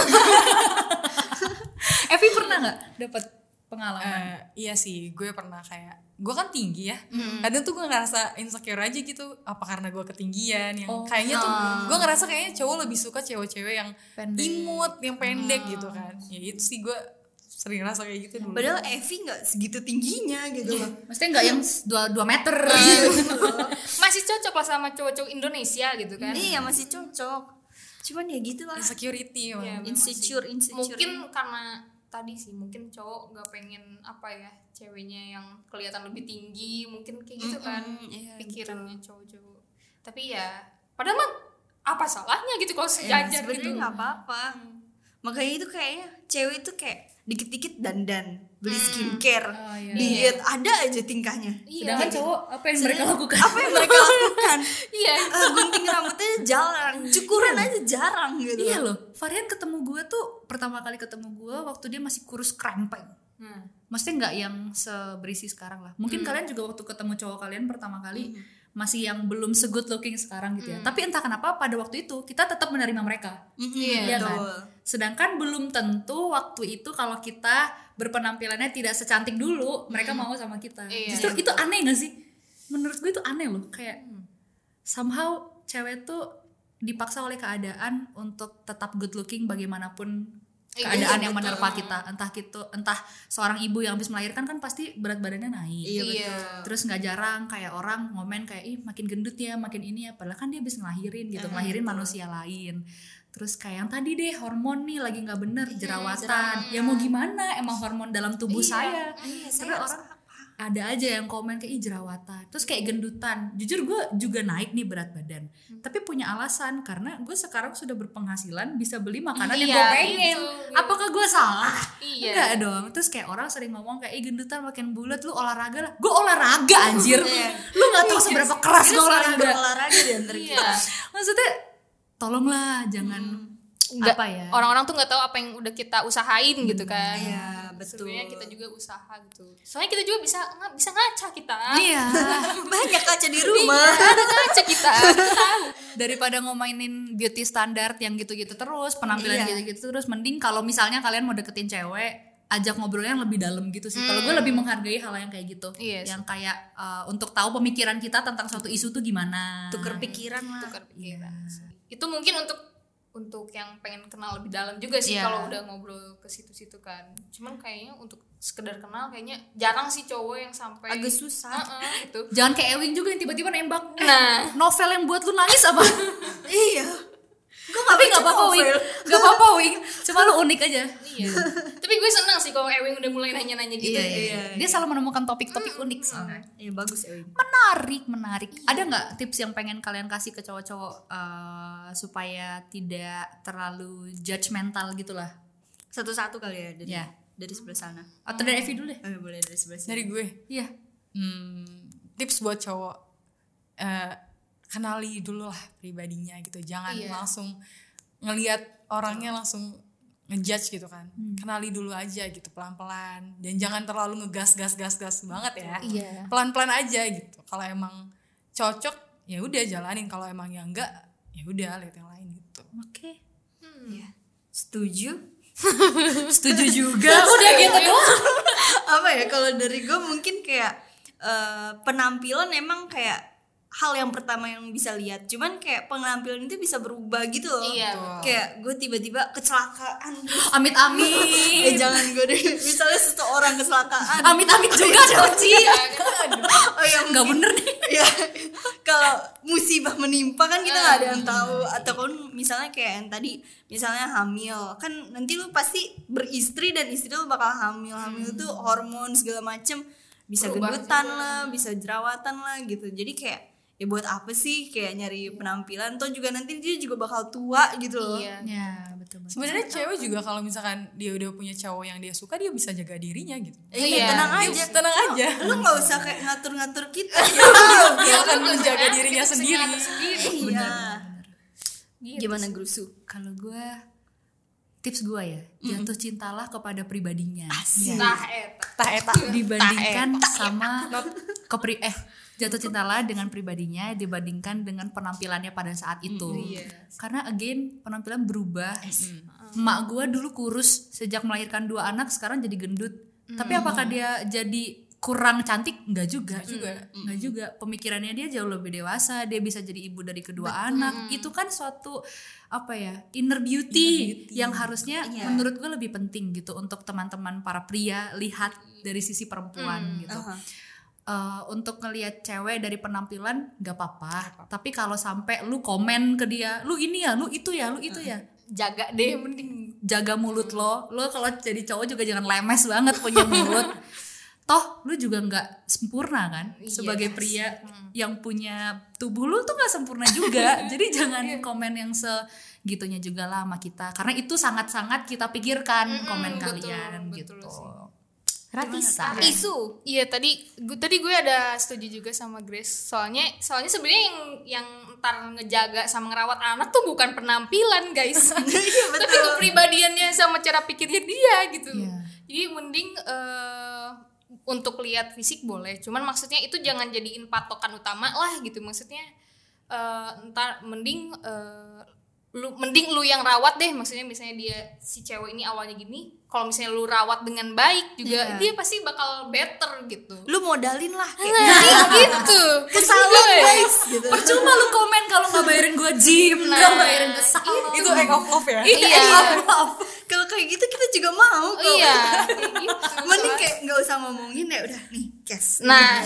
Evi pernah nggak dapat pengalaman Eh, iya sih, gue pernah kayak gue kan tinggi ya. Kadang tuh gue ngerasa insecure aja gitu, apa karena gue ketinggian yang kayaknya tuh gue ngerasa kayaknya cowok lebih suka cewek-cewek yang Pendek. imut, yang pendek gitu kan. Ya itu sih gue sering ngerasa kayak gitu dulu. Padahal Evi nggak segitu tingginya gitu loh. maksudnya nggak yang 2, 2 meter Iya. Masih cocok lah sama cowok-cowok Indonesia gitu kan. Iya, masih cocok. Cuman ya gitu lah. Insecurity emang. Iya, Insecure, insecure. Mungkin karena tadi sih mungkin cowok gak pengen apa ya ceweknya yang kelihatan lebih tinggi mungkin kayak gitu kan iya, pikirannya gitu. cowok-cowok tapi ya padahal mah apa salahnya gitu Iya, kalau sejajar Iya, sebenarnya gitu nggak apa-apa. Makanya itu kayaknya cewek itu kayak dikit-dikit dandan, beli skincare, Oh, iya. diet ada aja tingkahnya. sedangkan cowok apa yang mereka lakukan Apa yang mereka lakukan? <laughs> iya Eh, gunting rambutnya jarang, cukuran aja jarang gitu. iya loh Varian ketemu gue tuh pertama kali ketemu gue waktu dia masih kurus krempeng Hmm. maksudnya nggak yang seberisi sekarang lah mungkin kalian juga waktu ketemu cowok kalian pertama Hmm. kali masih yang belum se good looking sekarang gitu ya tapi entah kenapa pada waktu itu kita tetap menerima mereka Iya, Iya kan? betul. Sedangkan belum tentu waktu itu kalau kita berpenampilannya tidak secantik dulu, mereka mau sama kita. Iya. Justru itu aneh gak sih? Menurut gue itu aneh loh, kayak somehow cewek tuh dipaksa oleh keadaan untuk tetap good looking bagaimanapun Iya, keadaan yang betul. menerpa kita. Entah gitu, entah seorang ibu yang habis melahirkan kan pasti berat badannya naik. Iya, Terus nggak jarang kayak orang ngomen kayak ih makin gendut ya, makin ini ya. Padahal kan dia habis ngelahirin gitu, ngelahirin manusia lain. Terus kayak yang tadi deh hormon nih lagi nggak bener jerawatan. Ya mau gimana? Emang hormon dalam tubuh saya. Iya, Tapi saya orang ada aja yang komen kayak ih jerawatan. Terus kayak gendutan. Jujur gue juga naik nih berat badan. Tapi punya alasan karena gue sekarang sudah berpenghasilan bisa beli makanan yang Iya, gue pengen. itu. Apakah gue salah? Iya. Enggak dong. Terus kayak orang sering ngomong kayak, "Ih, gendutan makin bulat lu olahraga lah." Gue olahraga anjir. Iya. lu nggak tahu seberapa keras gue Terus orang olahraga. berolahraga di <laughs> antara kita. iya Maksudnya tolonglah jangan nggak apa ya? Hmm, orang-orang tuh nggak tahu apa yang udah kita usahain gitu kan Iya, betul. sebenarnya kita juga usaha gitu soalnya kita juga bisa nga- bisa ngaca kita <laughs> Iya. <laughs> Banyak kaca di rumah. Ada ngaca kita Daripada ngomainin beauty standar yang gitu-gitu terus, penampilan Iya. gitu-gitu terus mending kalau misalnya kalian mau deketin cewek ajak ngobrolnya yang lebih dalam gitu sih. Kalau gue lebih menghargai hal yang kayak gitu, Hmm. Iya sih. yang kayak eh, untuk tahu pemikiran kita tentang suatu isu tuh gimana. Tuker pikiran lah. Tukar Iya. pikiran sih. itu mungkin untuk untuk yang pengen kenal lebih dalam juga sih Iya. kalau udah ngobrol ke situ-situ kan cuman kayaknya untuk sekedar kenal kayaknya jarang sih cowok yang sampai Agak susah. Heeh, gitu Jangan kayak Ewing juga yang tiba-tiba nembak. Eh, <laughs> Nah. novel yang buat lu nangis apa? iya. Gua nggak Tapi nggak baca apa-apa Wing, novel. nggak apa-apa Wing. Cuma lu unik aja. iya tapi gue senang sih kalau Ewing udah mulai nanya-nanya gitu Iya, ya. iya. Dia selalu menemukan topik-topik unik soalnya. Iya bagus Ewing. Menarik, menarik. Ada nggak tips yang pengen kalian kasih ke cowok-cowok eh, supaya tidak terlalu judgmental gitu lah? Satu-satu kali ya dari Iya. dari sebelah sana. Atau dari Evi dulu deh. Oh, ya, boleh dari sebelah sini. dari gue Iya. hmm, tips buat cowok eh, kenali dulu lah pribadinya gitu jangan Iya. langsung ngelihat orangnya langsung ngejudge gitu kan Hmm. kenali dulu aja gitu pelan pelan dan jangan terlalu ngegas gas gas gas banget ya Iya. pelan pelan aja gitu kalau emang cocok ya udah jalanin kalau emang yang enggak ya udah lihat yang lain gitu Oke. Setuju? <laughs> <laughs> Setuju juga. Udah gitu Iya, doang. Apa ya kalau dari gue mungkin kayak eh, penampilan emang kayak hal yang pertama yang bisa lihat. Cuman kayak penampilan itu bisa berubah gitu loh. Iya, Kayak gue tiba-tiba kecelakaan. Amit-amit. eh <laughs> jangan gue deh. Misalnya seseorang kecelakaan. Amit-amit juga dong, Ci. gitu. Oh ya Nggak bener nih. ya kalau musibah menimpa kan kita nggak ada yang tahu atau kan misalnya kayak yang tadi misalnya hamil kan nanti lu pasti beristri dan istri lu bakal hamil hamil tuh hormon segala macem bisa Berubah gendutan juga. lah bisa jerawatan lah gitu jadi kayak ya buat apa sih kayak nyari penampilan toh juga nanti dia juga bakal tua gitu loh Iya. Ya, betul banget. sebenarnya cewek juga kalau misalkan dia udah punya cowok yang dia suka dia bisa jaga dirinya gitu Eh, Iya. tenang Dia aja tenang aja lu nggak usah kayak ngatur-ngatur kita dia akan menjaga Kan dirinya kita bisa sendiri ngatur sendiri. iya Gitu. gimana grusu Kalau gue tips gue ya, jatuh cintalah kepada pribadinya. Iya. Nah, eta. tah eta dibandingkan sama kepri eh jatuh cintalah dengan pribadinya dibandingkan dengan penampilannya pada saat itu. Karena again penampilan berubah. Emak gua dulu kurus sejak melahirkan dua anak sekarang jadi gendut. Tapi apakah dia jadi kurang cantik? Enggak juga. juga. Enggak juga. Pemikirannya dia jauh lebih dewasa, dia bisa jadi ibu dari kedua anak. Itu kan suatu apa ya? inner beauty, yang harusnya Iya. menurut gue lebih penting gitu untuk teman-teman para pria lihat dari sisi perempuan gitu. Aha. Eh, untuk ngelihat cewek dari penampilan nggak apa-apa, tapi kalau sampai lu komen ke dia, lu ini ya, lu itu ya, lu itu ya, jaga deh mending jaga mulut lo. Lo kalau jadi cowok juga jangan lemes banget <laughs> punya mulut. Toh lu juga nggak sempurna kan Iya, sebagai pria Hmm. yang punya tubuh lu tuh nggak sempurna <laughs> Iya. juga. Jadi jangan komen yang segitunya juga lah sama kita karena itu sangat-sangat kita pikirkan komen betul, kalian betul gitu. sih. Ratisa. isu iya tadi gue tadi gue ada setuju juga sama Grace soalnya soalnya sebenarnya yang yang entar ngejaga sama ngerawat anak tuh bukan penampilan <laughs> guys Iya, tapi kepribadiannya sama cara pikirnya dia gitu Iya. jadi mending eh, untuk lihat fisik boleh cuman maksudnya itu jangan jadiin patokan utama lah gitu maksudnya eh, entar mending eh, lu mending lu yang rawat deh maksudnya misalnya dia si cewek ini awalnya gini kalau misalnya lu rawat dengan baik juga Iya. dia pasti bakal better gitu lu modalin lah kayak nah, gitu kesalahan guys gitu Percuma lu komen kalau nggak bayarin gua gym, Nah, nggak bayarin gue salon. itu act of love ya iya Eh, kalau kayak gitu kita juga mau kok iya kayak gitu mending kayak nggak usah ngomongin ya udah nih cash nah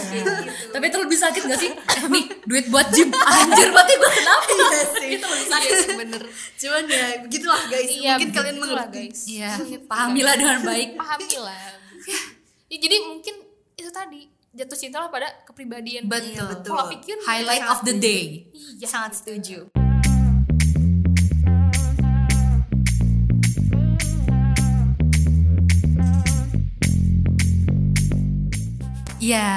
Tapi itu lebih sakit gak sih? Eh, Nih, duit buat gym. Anjir, berarti gue kenapa? <laughs> Iya sih. iya sih, bener cuman ya begitulah guys iya mungkin kalian begitu lah, mengerti guys Iya, pahamilah dengan baik. pahami lah ya, jadi mungkin itu tadi jatuh cinta lah pada kepribadian Betul. betul. pola pikir Highlight of the day. iya sangat setuju Iya,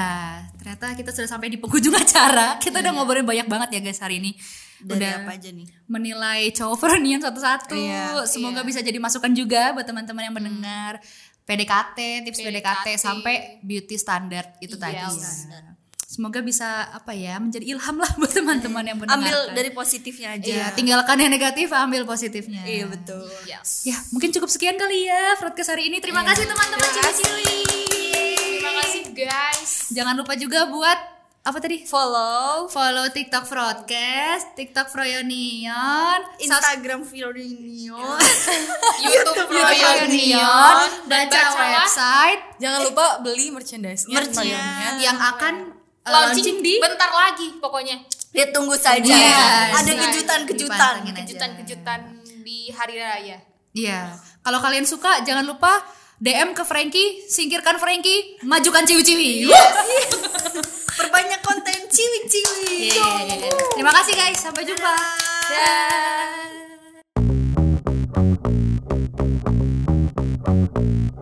ternyata kita sudah sampai di penghujung <laughs> acara. Kita udah ngobrolin banyak banget ya guys hari ini. dari udah Iya. apa aja nih menilai cowok <laughs> Veronian satu-satu. Iya, Hmm. Semoga iya. bisa jadi masukan juga buat teman-teman yang mendengar. PDKT, tips PDKT, PDKT. sampai beauty standard itu Iya, tadi. Ya. standar. Semoga bisa apa ya menjadi ilham lah <laughs> buat teman-teman yang mendengarkan. ambil dari positifnya Iya, aja tinggalkan yang negatif, ambil positifnya. iya betul yes Ya, mungkin cukup sekian kali ya podcast hari ini. Iya. Terima kasih teman-teman ciwi-ciwi. terima kasih guys <laughs> Jangan lupa juga buat apa tadi? Follow, follow TikTok Broadcast, TikTok Froyonion, Instagram Vironion YouTube Royal Neon Froyonion, baca Bacalah. eh, website jangan lupa beli merchandise nya Merch-nya. yang akan uh, Ah. launching di bentar lagi pokoknya ya tunggu saja Iya, ada iya. kejutan kejutan Dipantengin aja. kejutan-kejutan di hari raya Iya. Kalau kalian suka jangan lupa DM ke Frankie, singkirkan Frankie, majukan ciwi-ciwi. Perbanyak konten Iya, ciwi-ciwi. Yeay. Terima kasih guys, sampai jumpa. Dah.